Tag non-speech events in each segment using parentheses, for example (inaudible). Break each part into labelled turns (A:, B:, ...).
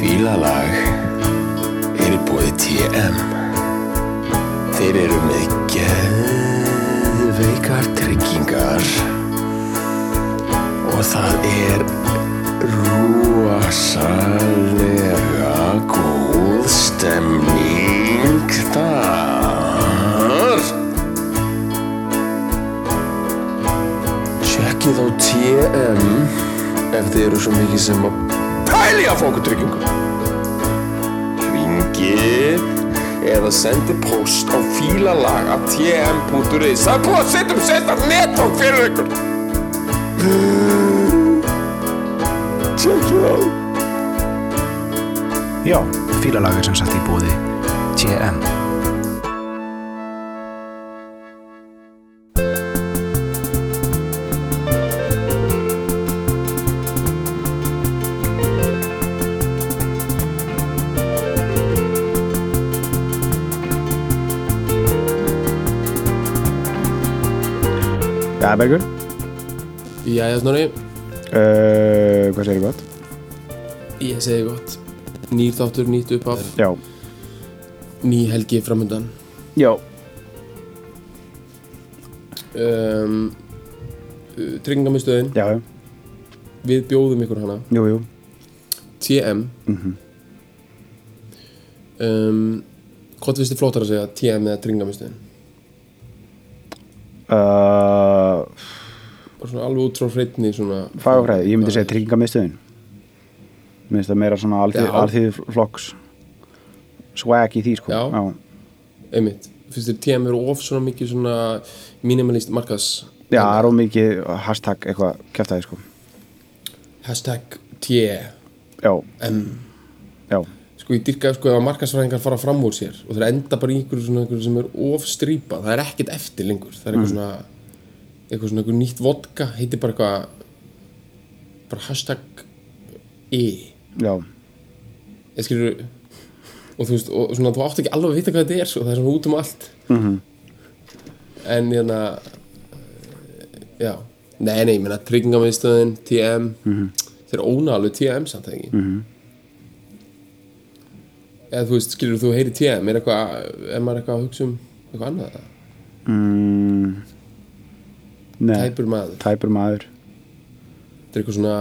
A: Fílalag er í bóði TM Þeir eru með geðveikar tryggingar og það er rúasalega góð stemning þar Tjekkið á TM ef þið eru svo mikið sem að pæli að fá okkur tryggingum ringi eða sendi post á fílalag af tm.is það er búið að setja um sérstætt nettók fyrir ykkur tjekkið á
B: Já, fílalag er sem sagt í bóði TM
C: Já, Bergur,
D: Jæja Snorri,
C: uh, hvað segir gott?
D: ég segi gott Nýr þáttur, nýtt upphaf,
C: Já,
D: ný helgi framöndan
C: já,
D: um, uh, Tryggingamistöðin,
C: já, já.
D: við bjóðum ykkur hana
C: jú, jú,
D: TM um, Hvort finnst þið flottar að segja TM eða Tryggingamistöðin?
C: uh,
D: Bara svona alveg út frá hreitni svona
C: fagafræði, ég myndi segja tryggingamiðstöðin. Mér finnst það meira svona
D: Já.
C: alþýð flokks swag í því, sko.
D: Já. Einmitt, finnst þið TM eru of svona mikið svona minimalist markas
C: Já, það er ómikið hashtag eitthvað kjæftæði, sko.
D: Hashtag TM
C: Já, já,
D: sko ég dyrka sko ef að markasfræðingar fara fram úr sér og þeir enda bara í einhverju svona einhverju sem er ofstrýpa, það er ekkert eftir lengur það er eitthvað svona eitthvað svona einhver nýtt vodka, heitir bara eitthvað bara hashtag e,
C: já,
D: ég skilur og þú veist, og svona þú átt ekki alveg að vita hvað þetta er sko, það er svona út um allt mm -hmm. en hérna eh, já, nei nei, ég meina tryggingamiðstöðin, TM þeir óna alveg TM samt það ekki eða þú veist, skilur þú heyri TM er eitthvað, er maður eitthvað að hugsa um eitthvað annað eða?
C: Mm. nei,
D: tæpur maður,
C: tæpur maður.
D: þetta er eitthvað svona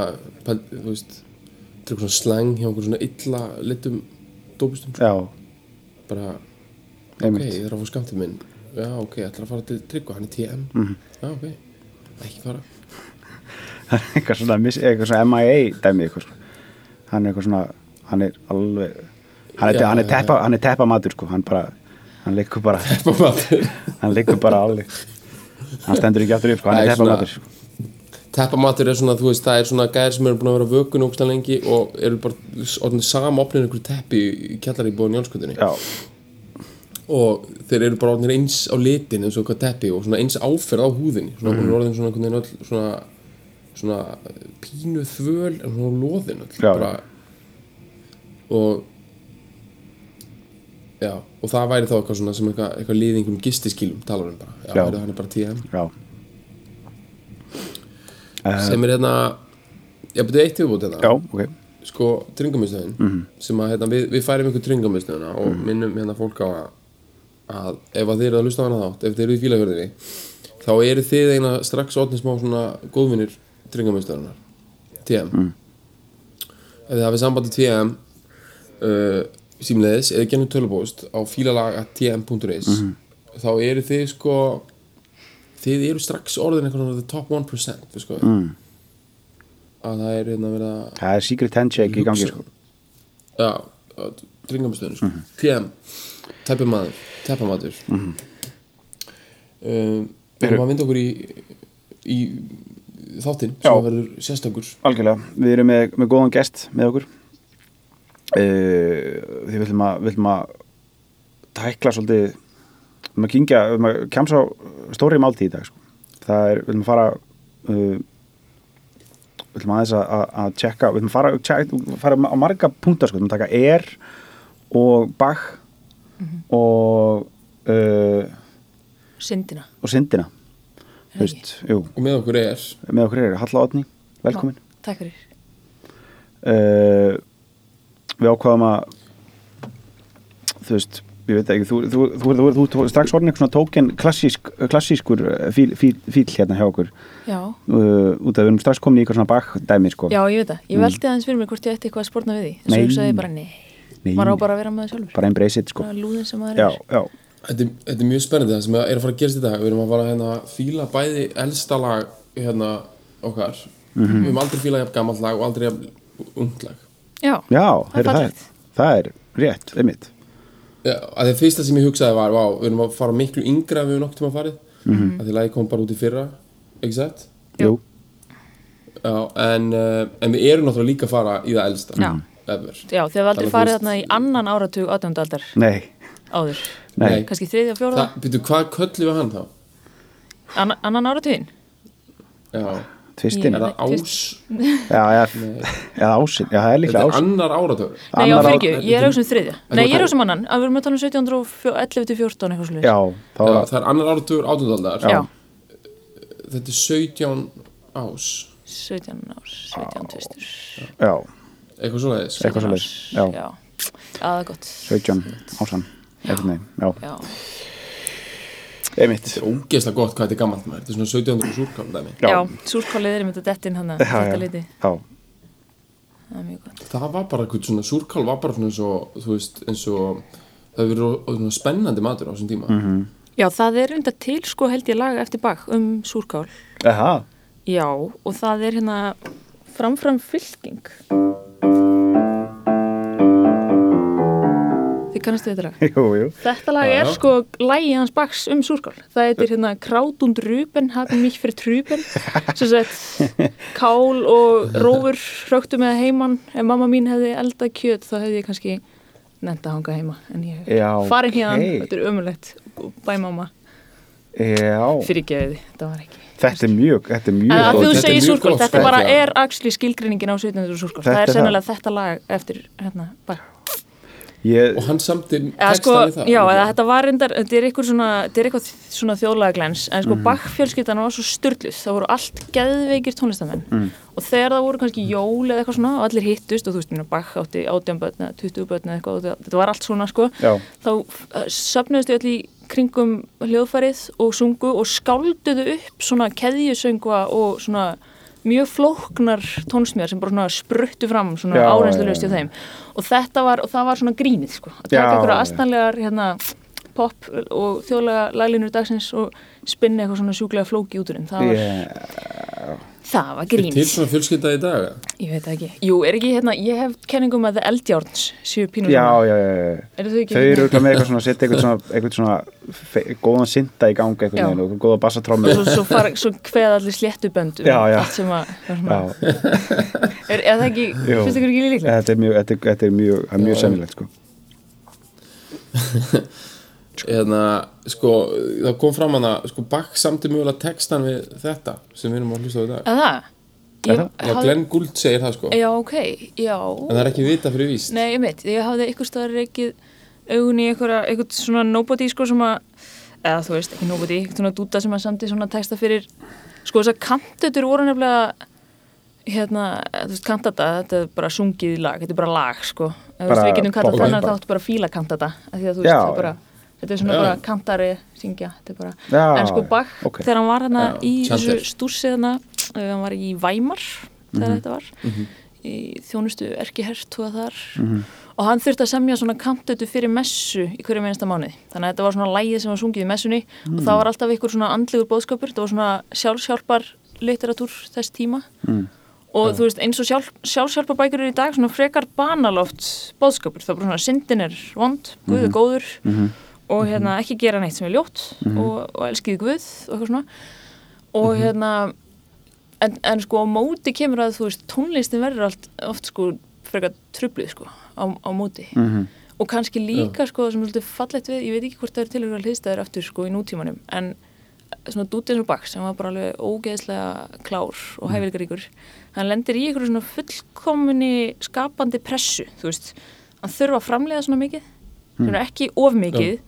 D: pæl- þú veist, þetta er eitthvað svona slang hjá einhver svona illa litum dópistum, sko.
C: Já,
D: bara ok,
C: einmitt.
D: ég þarf að fá skamtið minn já, ok, ég ætla að fara til Tryggva, hann er TM mm. já, ok, ekki fara
C: (laughs) eitthvað svona, mis- eitthvað svona MIA dæmi eitthvað sko. hann er eitthvað svona hann er alveg hann er,
D: Já,
C: hann er,
D: já,
C: teppa, hann er teppa matur sko. hann bara hann liggur bara
D: Bara matur.
C: hann liggur bara alveg hann stendur ekki aftur upp sko. hann er
D: Það er
C: teppa
D: svona-
C: matur sko.
D: Teppamatur er svona, þú veist, það er svona gæðir sem eru búin að vera vökun ógstæðan lengi og eru bara orðin samopnir einhverju teppi í kjallari í bóðin Jálskutinni
C: já,
D: og þeir eru bara orðinir eins á litin eins og hvað teppi og svona eins áferð á húðinni svona mm. orðin svona einhvern veginn öll svona, svona pínu þvöl en svona loðin öll
C: Já.
D: og já, og það væri þá eitthvað svona sem eitthvað, eitthvað liði einhverjum gistiskýlum talar um bara, já,
C: Já.
D: já. hann er bara TM
C: já,
D: sem er hérna, já, betur eitt viðbútt hérna
C: já, ok
D: sko tryngamistöðin sem að hérna, við, við færum ykkur tryngamistöðina og minnum hérna fólk á að, að ef að þeir eru að hlusta á hana þátt ef þeir eru í fílafjörðinni þá eru þið eina strax orðin smá svona góðvinir tryngamistöðinar TM ef þið hafið sambandi TM uh, símleðis eða gennum tölubóst á fílalaga.tm.is þá eru þið sko þið eru strax orðin eitthvað svona the top 1% við sko mm. að það er hérna verið að
C: það er secret handshake í gangi sko.
D: Já, dringamstöðun sko. PM, teppumadur teppamadur mm -hmm. um, Við erum að vinda okkur í í þáttinn
C: Já.
D: sem verður sérstakur
C: algjörlega, við erum með, með góðan gest með okkur uh, því við ætlum að, við ætlum að tækla svolítið við ætlum að kynkja, við ætlum að kemsa á stóri máltíð í dag sko. það er, við ætlum að fara uh, við ætlum aðeins að, að, að tjekka, við ætlum að fara, tjekka, fara á marga púnta sko, við ætlum að taka er og bach og uh,
E: Sindina
C: og syndina Þú
E: Er það
C: veist, jú,
D: og með okkur er
C: með okkur er Halla Átni, velkomin
E: Ná, Takk fyrir
C: uh, við ákvaðum að þú veist ég veit ekki, þú, þú, þú, þú, þú, þú, þú strax orðin eitthvað svona tókin klassísk, klassískur eh, fíl, fíl, fíl hérna hjá okkur
E: Já,
C: uh, út af við erum strax komin í eitthvað svona bakdæmi sko.
E: já ég veit það Ég veldi aðeins fyrir mér hvort ég ætti eitthvað að spórna við því En svo
C: Nei.
E: hugsaði ég bara, nei,
C: Nei.
E: maður á bara að vera maður sjálfur
C: bara embrace it sko.
E: Bara lúðin sem maður
C: já,
E: er
C: já,
D: þetta, er- þetta er mjög spennandi það sem er að fara að gerast í dag við erum að fara að hérna, fíla bæði elsta lag hérna, okkar við erum aldrei fíla jafn gammalt lag og aldrei jafn ungt lag
E: Já,
C: já
E: það er
C: heyrðu, það,
E: fallegt
C: er, það er rétt, einmitt
D: Já, að því fyrsta sem ég hugsaði var vá, við erum að fara miklu yngra en við erum nokkuð tíma farið að því lagi kom bara út í fyrra ekki sett
C: jú,
D: Já, en, uh, en við erum náttúrulega líka að fara í það elsta
E: Já.
D: ever.
E: Já, þið hefur aldrei
D: Þannig að
E: farið
D: þú
E: þarna í annan áratug 18. aldar
C: nei,
E: áður
C: nei,
D: Nei.
E: Kannski þriðja og fjórða,
D: Það, býtu, hvað köllum við hann þá?
E: annan, annan áratugin
D: Já,
C: tvistin
D: er
C: já,
D: það ás
C: já, já, ásin, já, það er
D: Þetta
C: líklega
D: er
C: ásin
D: annar áratöður
E: Nei, já,
C: Annar
E: fyrir ekki,
D: ár-
E: ég er auðvitað um þriðja Nei,
D: var
E: ég er
D: þá.
E: auðvitað um annan, að við erum að tala um 1711 til 14 eitthvað slúið
C: já, þá
D: Já,
C: er
D: það er annar áratöður átundaldar
E: Já,
D: Þetta er 17 ás
E: 17 árs, 17 tvistur
C: já,
D: Eitthvað svona þess
C: eitthvað svo já,
E: Já, Já, það er gott
C: 17, ásan einhvern veginn, já,
E: Já,
C: einmitt
D: Ógeðslega gott hvað þetta er gammalt maður Þetta er svona 17. súrkál dæmi
E: já, súrkálið er einmitt að detta inn hann að
C: já,
E: þetta
C: já,
E: liti
C: já,
E: Það er mjög gott
D: Það var bara eitthvað svona, súrkál var bara svona eins og Þú veist, eins og Það hefur verið orðið svona spennandi matur á þessum tíma
C: Mhm.
D: mm -hmm.
E: Já, það er undar til sko held ég lag eftir bak um súrkál
C: eha,
E: Já, og það er hérna framfram fylking Þið kannastu þetta lag?
C: jú, jú
E: Þetta lag er
D: já.
E: sko lægi hans baks um súrkál. Það heitir hérna Krátund Ruben, hafði mikið fyrir trúben. Svo sett kál og rófur hröktu með heimann. Ef mamma mín hefði eldað kjöt þá hefði ég kannski nefnd að hanga heima. En ég
C: Já,
E: hef farin hérna,
C: ok.
E: þetta er ömulegt. Bæ mamma,
C: já,
E: fyrir gefiði, þetta var ekki.
C: þetta er mjög, þetta er
E: En
C: mjög
E: að
D: gott. sko,
E: þú
D: Þetta er
E: segir
D: mjög
E: súrkál,
D: gott
E: þetta
D: sko.
E: bara
D: Já.
E: er axli skilgreiningin á 17.
C: Þetta
E: súrkál.
C: er
E: Það er
C: það.
E: sennilega þetta lag eftir hérna bæ.
C: ég,
D: Og hann samtir
E: eða
D: textan
E: sko,
D: við það
E: já,
D: ekki?
E: eða þetta var reyndar, þetta er eitthvað svona, þetta er eitthvað svona þjóðlega glens, en sko mm. Bach-fjölskyldan var svo styrluð, það voru allt geðveikir tónlistamenn
C: Mm.
E: og þegar það voru kannski jól eða eitthvað svona og allir hittust og þú veist, minna, Bach átti 18 börn eða 20 börn eða eitthvað, og þetta- þetta var allt svona sko,
C: Já.
E: þá söfnuðustu öll í kringum hljóðfærið og sungu og skálduðu upp svona keðjusöngva og svona mjög flóknar tónsmíðar sem bara svona spruttu fram svona
C: Já,
E: áreynslulaust
C: já,
E: hjá þeim og þetta var, og það var svona grínið sko að
C: Já,
E: taka einhverja
C: já.
E: astanlegar hérna, pop og þjóðlega laglínur dagsins og spinna eitthvað svona sjúklega flóki út úr þeim, það var,
C: ég,
E: það var
D: Er Til
E: grínið
D: svona fjölskylda í dag eða?
E: ég veit það ekki, jú er ekki hérna ég hef kenningum að það eldjárns séu pínur
C: já,
E: svona.
C: já, já, já
E: eru þau ekki
C: Þau eru auðvitað með eitthvað svona, setja eitthvað svona, eitthvað svona fe- góðan synda í gangi
E: Já.
C: eitthvað og góða bassatrómmu.
E: og svo, svo, fara, svo kveða allir sléttubönd um
C: Já, já.
E: allt sem að það er svona,
C: Já,
E: er, er það ekki,
C: Jú.
E: finnst ykkur ekki líklegt
C: þetta er mjög, þetta er, þetta er mjög, það er mjög
D: Já.
C: sennilegt sko.
D: Hérna, sko, það kom fram hana Sko, Bach samtir mjögulega textan við þetta Sem við erum að hlusta á í dag
E: að það,
C: Er
E: ég,
C: það?
D: Já, Glenn Gould segir það sko
E: já ok já,
D: En það er ekki vita fyrir víst
E: Nei, ég mitt, ég hafði einhver staðar reykið augun í einhverja, einhvern svona nobody sko sem að, eða þú veist, ekki nobody, einhvern svona dúta sem að samti svona texta fyrir, sko þess að kantetur voru nefnilega, hérna, þú veist, kantata, þetta er bara sungið lag, þetta er bara lag, sko. Þú veist,
C: Bara
E: við getum kallað
C: popp-
E: þannig að
C: bara.
E: þáttu bara fíla kantata, af því að þú veist,
C: Já,
E: það er bara, þetta er svona
D: Já.
E: bara kantari syngja, þetta er bara,
C: Já,
E: en sko
C: já,
E: Bach,
C: ok.
E: þegar hann var hérna
D: Já,
E: í þessu
D: Chandler.
E: stúrsi hérna, uh, hann var í Væmar, þegar þetta var, í þjónustu erkihertúa þar og hann þurfti að semja svona kantötu fyrir messu í hverju meinasta mánuði þannig að þetta var svona lægið sem var sungið í messunni og það var alltaf einhver svona andlegur bóðskapur það var svona sjálfshjálpar literatúr þess tíma mm. og þú veist eins og sjálf, sjálfshjálpar bækur eru í dag svona frekar banaloft bóðskapur það er bara svona syndin er vond, guð er góður og hérna ekki gera neitt sem er ljótt og, og elskið guð og eitthvað svona og hérna en, en sko á móti kemur að þú veist tónlistin verður allt, oft sko frekar trubluð sko á, á móti -hmm. og kannski líka sko sem er svolítið fallegt við, ég veit ekki hvort það er til að hlýsta þér aftur sko í nútímanum en svona Dútin og Bach sem var bara alveg ógeðslega klár og hæfileikaríkur hann lendir í einhverju svona fullkominni skapandi pressu, þú veist hann þurfa að framlega svona mikið sem er ekki of mikið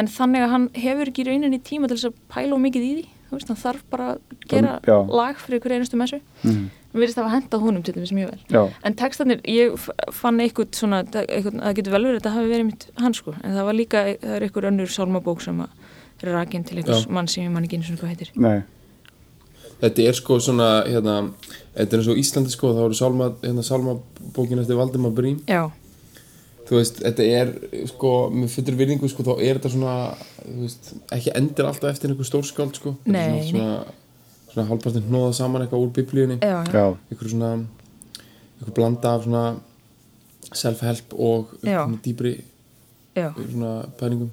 E: en þannig að hann hefur ekki í rauninni tíma til þess að pæla of mikið í því þú veist, hann þarf bara að gera
C: Já.
E: lag fyrir hverju einustu messu
C: Mhm.
E: við veist að hafa hendað honum til þess mjög vel
C: já,
E: En textanir, ég f- fann eitthvað svona, eitthvað, það getur vel verið að þetta hafi verið mitt hans sko, en það var líka, það er eitthvað önnur sálmabók sem að rakin til einhvers
D: Já.
E: mann sem ég man ekki eins og hvað heitir.
C: nei,
D: Þetta er sko svona, hérna, þetta er eins og Íslandi sko, þá eru sálma, hérna, sálmabókin eftir Valdemar Brím.
E: Já,
D: Þú veist, þetta er, sko, með fullur virðingu, sko, þá er þetta svona, þú veist, ekki endir alltaf eftir einhver stórskáld, sko. Þetta er
E: Nei,
D: Svona, svona, svona hálfpartin hnoða saman eitthvað úr biblíunni.
E: já, já.
C: já,
D: Einhver svona, einhver blanda af svona self-help og
E: Já.
D: svona dýpri
E: já.
D: svona pælingum.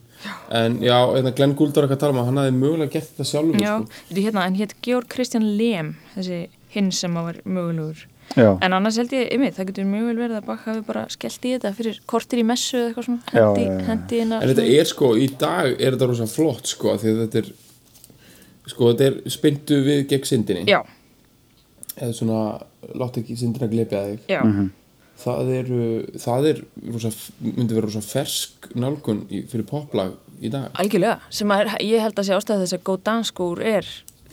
D: En já, hérna, Glenn Gould var eitthvað að tala um að hann hefði mögulega gert þetta sjálfur,
E: Já,
D: sko.
E: þetta er hérna, en hétt Georg Kristján Lem, þessi hinn sem að var mögulegur.
C: já,
E: En annars held ég, ymmið, það getur mjög vel verið að Bach hafi bara skellt í þetta fyrir kortir í messu eða eitthvað svona,
C: Já,
E: hendi,
C: já, já.
E: hendi inn að...
D: En þetta er sko, í dag er þetta rosa flott sko, af því að þetta er sko, þetta er spyndu við gegn syndinni
E: Já,
D: eða svona, látt ekki syndina gleypja þig
E: já,
C: Mhm.
D: það er, það er rosa, myndi vera rosa fersk nálgun í, fyrir poplag í dag
E: Algjörlega, sem að er, ég held að sé ástæða þess að góð danskúr er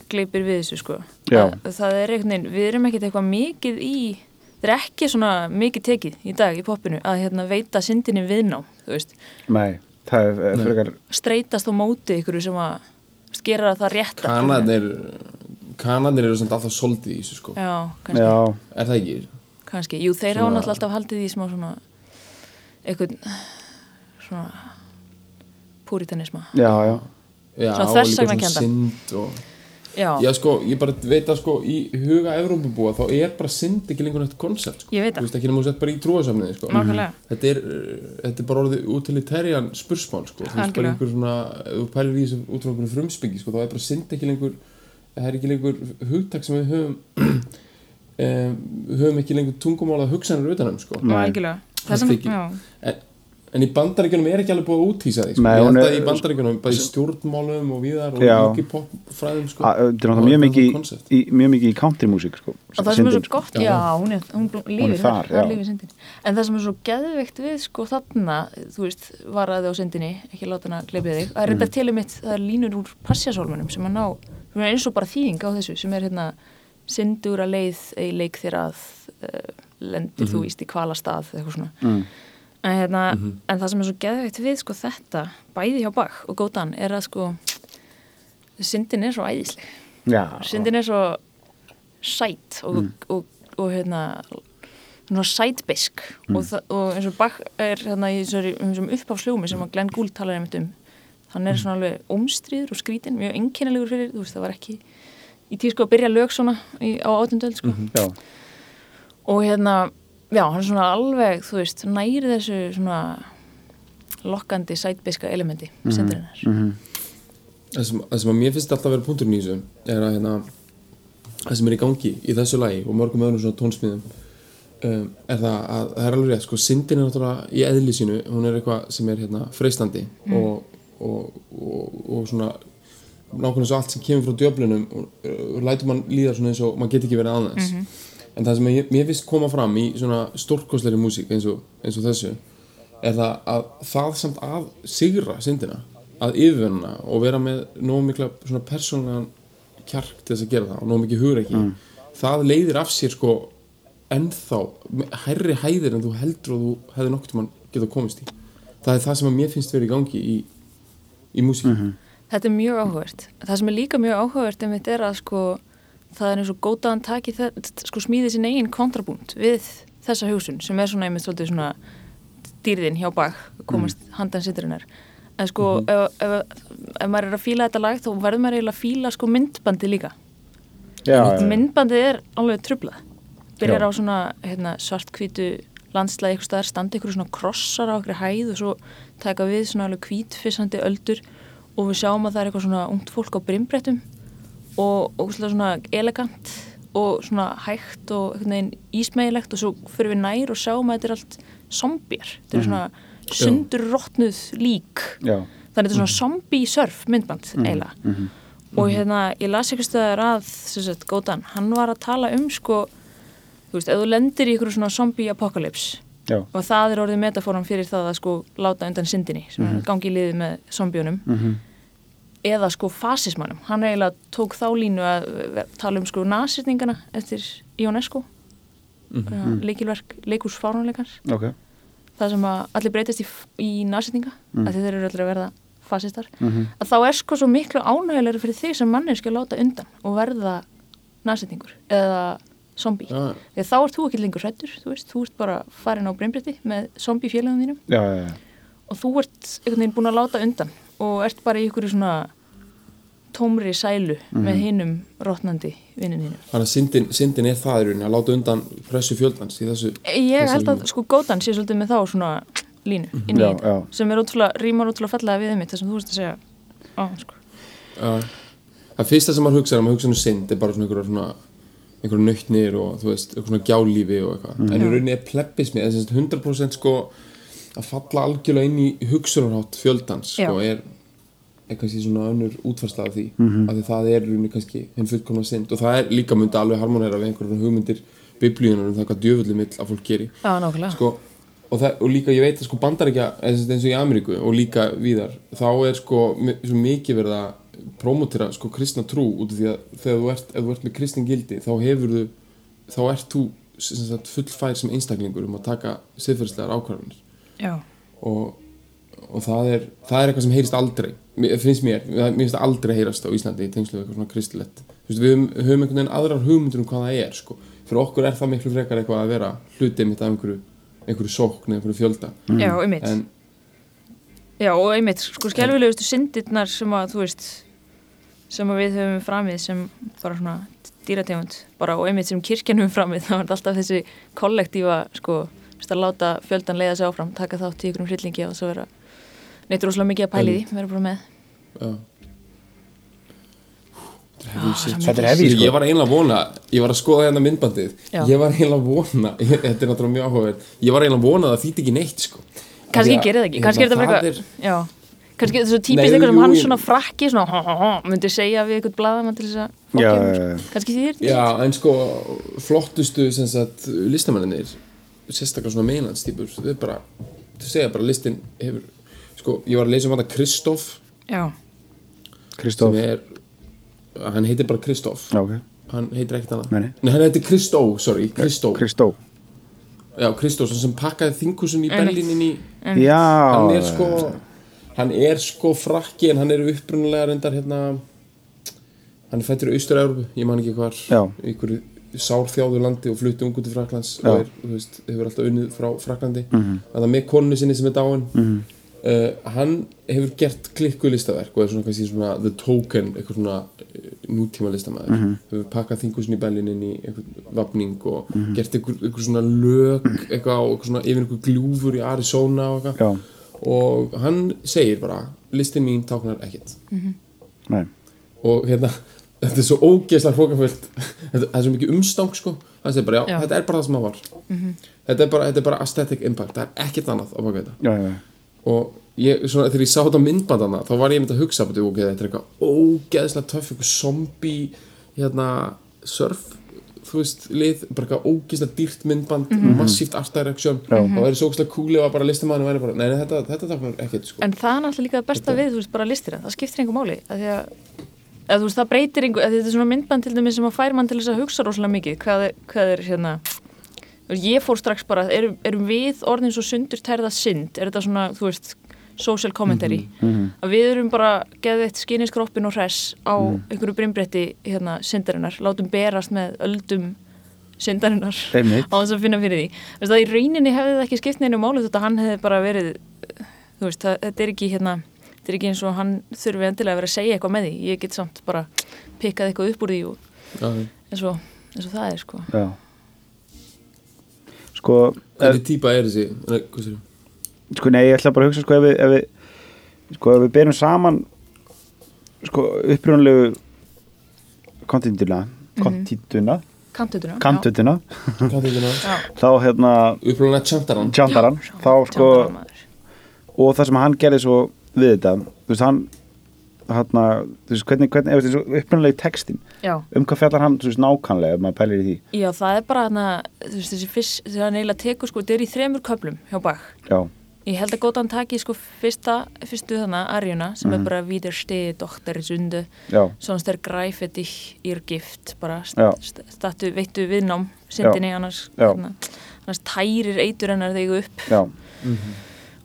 E: gleipir við þessu sko.
C: Já.
E: Að, það er einhvern veginn, við erum ekkert eitthvað mikið í, það er ekki svona mikið tekið í dag í poppinu að hérna veita syndinni viðná, þú veist,
C: nei, það er eh, frekar,
E: streytast á móti ykkur sem að skera það rétta.
D: Kanarnir Kanarnir eru samt alltaf soldið í þessu sko
E: Já, kannski,
C: já,
D: er það ekki?
E: kannski. Jú, þeir hafa náttúrulega alltaf haldið í smá svona, einhvern, svona, púritanisma.
C: já, já,
D: Já,
E: Svona
D: og
E: þversagnarkennda.
D: líka svona synd og
E: Já,
D: Já, sko, ég bara veit að sko í huga Evrópubúa þá er bara synd ekki lengur nætt koncept sko.
E: Ég veit það.
D: Þú veist ekki nema þú sett bara í trúasamniði sko.
E: Nákvæmlega.
D: Þetta er, uh, þetta er bara orðið utilitarian spursmál sko. Þú veist bara
E: Algjörlega.
D: einhver svona, ef þú pælir í þessu út frá einhverju frumspyggi sko, þá er bara synd ekki lengur það er ekki lengur hugtak sem við höfum (clears throat) um, höfum ekki lengur tungumálað hugsanir utanum sko.
E: já, algjörlega. Það er
D: Það
E: sem,
D: þykir-
E: já.
D: En, en í bandaríkjunum er ekki alveg búið að útýsa því sko.
C: Nei,
D: Ég
C: hún
D: held
C: er-
D: að í bandaríkjunum, bara í stjórnmálum og víðar og
C: Já.
D: mikið popfræðum sko.
C: A- eh, þetta er
D: Og
C: náttúrulega mjög
D: þetta
C: mikið,
D: svona concept.
C: í- í- mjög mikið í countrymúsík, sko,
E: og það sem er
C: syndin,
E: svo gott, já, hún, er, hún bl-
C: Hún
E: lífir
C: er þar,
E: þar,
C: já.
E: þar lífir syndin en það sem er svo geðveikt við sko þarna, þú veist, varaði á syndinni ekki láta hana gleipið þig, það er
C: Mm.
E: þetta til um mitt það er línur úr passjasólmanum sem að ná sem er eins og bara þýðing á þessu sem er hérna, syndur að leið ei leik þér að uh, lendir þú íst í kvalastað eitthvað svona
C: Mhm. Mm.
E: en, hérna, en það sem er svo geðveikt við sko þetta, bæði hjá Bach og Góðan er að sko syndin er svo æðisleg
C: Já,
E: syndin er svo sæt og, og, og, hérna svona sætbisk og, það- og eins og Bach er hérna í þessari- þessum uppáfsljómi sem að Glenn Gould talar einmitt um hann er svona alveg ómstriður og skrítin mjög einkennilegur fyrir, þú veist það var ekki í tísku að byrja lög svona í, á átundöld sko
C: já,
E: og hérna, já, hann er svona alveg þú veist, næri þessu svona lokkandi sætbiska elementi mm syndirinnar
D: það sem, það sem að mér finnst alltaf að vera punkturinn í þessu er að hérna það sem er í gangi í þessu lagi og mörgum öðrum svona tónsmíðum um, er það að það er alveg rétt sko syndin er náttúrulega í eðli sínu hún er eitthvað sem er hérna freistandi og, og, og, og svona nákvæmlega svo allt sem kemur frá djöflunum og, og lætur mann líða svona eins og maður get ekki verið aðeins en það sem ég, mér finnst koma fram í svona stórkostleiri músík eins og, eins og þessu er það að það samt að sigra syndina að yfirverna og vera með nógu mikla svona persónlegan kjark til þess að gera það og nógu mikið hugur ekki það leiðir af sér sko ennþá hærri hæðir en þú heldur og þú hefði nokkuð mann geta komist í það er það sem að mér finnst verið í gangi í, í músík
E: Þetta er mjög áhugavert. Það sem er líka mjög áhugavert einmitt er að sko, það er eins og gótaðan taki þe- sko, smíði sin eigin kontrabúnt við þessa hugsun sem er svona einmitt svolítið svona dýrðin hjá bak komast handan sitturinnar. En sko ef, ef, ef maður er að fíla þetta lag þá verður maður eiginlega að fíla sko myndbandi líka.
C: já, já,
E: Myndbandið er alveg trublað. Byrjar
C: Já.
E: á svona hérna, svartkvítu landslæði eitthvað staðar, standa ykkur svona krossar á okkur hæð og svo taka við svona alveg kvítfissandi öldur og við sjáum að það er eitthvað svona ungt fólk á brimbrettum og, og svona elegant og svona hægt og einhvern veginn ísmegilegt og svo fyrir við nær og sjáum að þetta er allt zombjar.
C: Mhm.
E: Þetta er svona sundurrottnuð lík
C: já,
E: þannig þetta er svona zombie surf myndband eiginlega og hérna ég las eitthvað stöðar að sem sagt, Gótan, hann var að tala um sko þú veist, ef þú lendir í ykkur svona zombie apocalypse
C: já,
E: og það er orðið metaforan fyrir það að sko láta undan syndinni sem mm gangi í liði með zombjónum eða sko fasismannum hann eiginlega tók þá línu að eh, tala um sko nasirningana eftir Ionesco mm -hmm. leikilverk, leikúsfárunleikar
C: ok
E: það sem að allir breytast í, í nasýtninga af því þeir eru allir að verða fasistar að þá er sko svo miklu ánægilegur fyrir þig sem manneski að láta undan og verða nasýtningur eða zombi
D: Já.
E: því að þá ert þú ekki lengur hrættur þú, veist, þú ert bara farin á breynbretti með zombi félagum þínum
C: já, já, já,
E: og þú ert einhvern veginn búin að láta undan og ert bara í ykkur svona tómri sælu með hinum rotnandi vinnin þínum
D: Þannig að syndin, syndin er það í rauninni að láta undan pressu fjöldans í þessu
E: Ég
D: þessu
E: held að
D: línu.
E: sko góðan sé svolítið með þá svona línu inn í
C: Já,
E: þetta
C: já.
E: sem er ótrúlega, rímar ótrúlega fallega við einmitt það sem þú veist að segja á, sko.
D: Það fyrsta sem maður hugsa er að maður hugsa um synd er bara svona einhverjar svona einhverjar nautnir og þú veist, einhverjar svona gjálífi og eitthvað
E: Mm.
D: en í rauninni er plebbismi, þess að 100% sko að falla algjörlega inn í hugsunarhátt fjöldans sko er er kannski svona önnur útfarsla af því
E: Mhm.
D: af því það er í rauninni kannski hinn fullkomna synd og það er líka myndi alveg harmonera við einhverjar hugmyndir biblíunar um það hvað djöfullum vill að fólk geri
E: Já, nákvæmlega
D: sko, og, það, og líka ég veit að sko bandaríkja eins og í Ameríku og líka víðar þá er sko mi- svo mikið verið að promotera sko kristna trú út af því að þegar þú ert, ef þú ert með kristin gildi þá hefur þú, þá ert þú sem sagt, fullfær sem einstaklingur um að taka siðferðislegar ákvarðanir
E: Já,
D: og, og það, er, það er eitthvað sem heyrist aldrei mér, finnst mér, mér finnst það aldrei heyrast á Íslandi í tengslu við eitthvað svona kristilegt Þú veist, við höfum, höfum einhvern veginn aðrar hugmyndur um hvað það er sko. fyrir okkur er það miklu frekar eitthvað að vera hlutið mitt af einhverju, einhverju sókn eða einhverju fjölda
E: já, einmitt
D: en
E: Já, og einmitt, sko skelfilegustu syndirnar sem að, þú veist sem að við höfum framið sem bara svona dýrategund bara og einmitt sem kirkjan höfum framið (laughs) þá er þetta alltaf þessi kollektífa sko, þú veist að láta fjöldan leiða sig áfram taka þátt í ykkur um hryllingi og svo vera neitt rosalega mikið að pæli því, vera bara með
D: já Heavy shit.
C: Þetta er hefði sko
D: Ég var eiginlega að vona, ég var að skoða hérna myndbandið
E: Já.
D: Ég var eiginlega að vona, (laughs) þetta er náttúrulega mjög áhugavert Ég var eiginlega að vona að það þýtti ekki neitt sko
E: kannski
D: Því að-
E: gerir það ekki, kannski er þetta
D: hérna,
E: bara
D: það
E: eitthvað já, kannski þessu típist
D: Nei,
E: eitthvað sem
D: jú,
E: hann
D: ég-
E: svona frakki svona hó, hó, hó, myndi segja við eitthvað blaðamann til þess að fólk
C: Já,
E: hefur,
C: já, já.
E: sko. kannski þýðir þetta
D: Já, en sko, flottustu sem sagt, listamennir sérstaklega svona meinlandstýpur þau bara, þau segja bara listin hefur, sko, ég var að leysa um hann að Kristoff
E: já,
C: Kristof,
D: sem er, hann heitir bara Kristoff
C: já, ok,
D: hann heitir ekkert annað
C: Nei, nei.
D: hann heitir Kristó, sorry, Kristó
C: Kristó
D: Já, Kristó, svo sem pakkaði þinghúsun í Berlín inn í,
C: Já,
D: hann er sko hann er sko frakki en hann er upprunalega reyndar hérna hann er fættur í Austur-Európu, ég man ekki hvar
C: Já.
D: í einhverju sárþjáðu landi og flutti ungu til Fraklands
C: Já. Mhm.
D: og er, þú veist, hefur alltaf unnið frá Fraklandi mm -hmm. með konunni sinni sem er dáin mm -hmm. hann hefur gert klikku listaverk og er svona kannski svona the token, eitthvað svona uh, nútíma listamæður
C: Mhm.
D: hefur pakkað þingusin í Berlín inn í einhvern vapning og
C: Mhm.
D: gert einhver, einhver svona lög eitthvað og einhver svona yfir einhver gljúfur í Arizona og
C: Já.
D: eitthvað og hann segir bara listin mín táknar ekkert
C: Nei,
D: og hérna þetta er svo ógeðslega hrókafullt þetta það er svo mikið umstang sko það segir bara já, þetta er bara það sem það var þetta, er bara, þetta er bara aesthetic impact það er ekkert annað á baka þetta
C: já, já, já.
D: og ég, svona, þegar ég sá þetta myndbandana þá var ég myndi að hugsa betur, ok, þetta er eitthvað ógeðslega töff, eitthvað zombie hérna, surf þú veist, lið, bara eitthvað ógeðslega dýrt myndband, massíft art direction þá væri svo ógeðslega kúli og bara listamann væri bara, nei, nei, þetta, þetta taknar ekkert sko.
E: en það er náttúrulega líka það besta við, þú veist, bara listir það skiptir einhver máli, að því að að þú veist, það breytir einhver, að þetta er svona myndband til dæmis sem að fær mann til þess að hugsa rosalega mikið hvað er, hvað er hérna þú veist, ég fór strax bara, erum, erum við orðin svo sundur tærða synd, er þetta svona þú veist, social commentary að við erum bara geðið eitt skiniskroppin og hress á einhverju brimbretti hérna, syndarinnar, látum berast með öldum syndarinnar
C: Einmitt.
E: (laughs) á þess að finna fyrir því þú veist, að í rauninni hefði það ekki skipt neina máli þetta hann hefði bara verið þú veist, það, þetta er ekki hérna þetta er ekki eins og hann þurfi endilega að vera að segja eitthvað með því ég get samt bara pikkað eitthvað upp úr því og,
D: Já, já.
E: eins, og, eins og það er sko
C: já. Sko, ef-
D: hvernig típa er þessi nei, hvað sér
C: sko, nei, ég ætla bara að hugsa sko ef við, ef við, sko, ef við berum saman sko upprjónulegu kontintuna kontintuna,
E: kantutuna Mhm. já.
C: kantutuna
D: hvað þetta er
C: þá hérna
D: upplæðan að chantaran
C: tjandaran,
E: Já,
C: þá sko
E: tjaldvaramaður.
C: og það sem hann gerði svo við þetta þú veist, hann hérna, þú veist, hvernig, hvernig, ef þessu upprunnulegi textin,
E: já,
C: um hvað fjallar hann, þú veist, nákvæmlega, ef maður pælir í því,
E: já, það er bara þarna, þú veist, þessi fyrst, þegar hann eiginlega tekur sko, þetta er í þremur köflum hjá Bach
C: já,
E: Ég held að Góðan taki sko fyrsta, fyrstu þannig Arjuna sem
C: Mhm.
E: er bara Víður stiði, doktor, sundu
C: já,
E: Svonst er græfið í írgift bara
C: Já.
E: st- st- stattu, veittu viðnám syndinni annars,
C: Já.
E: hérna, annars tærir eitur hennar þig upp
C: já,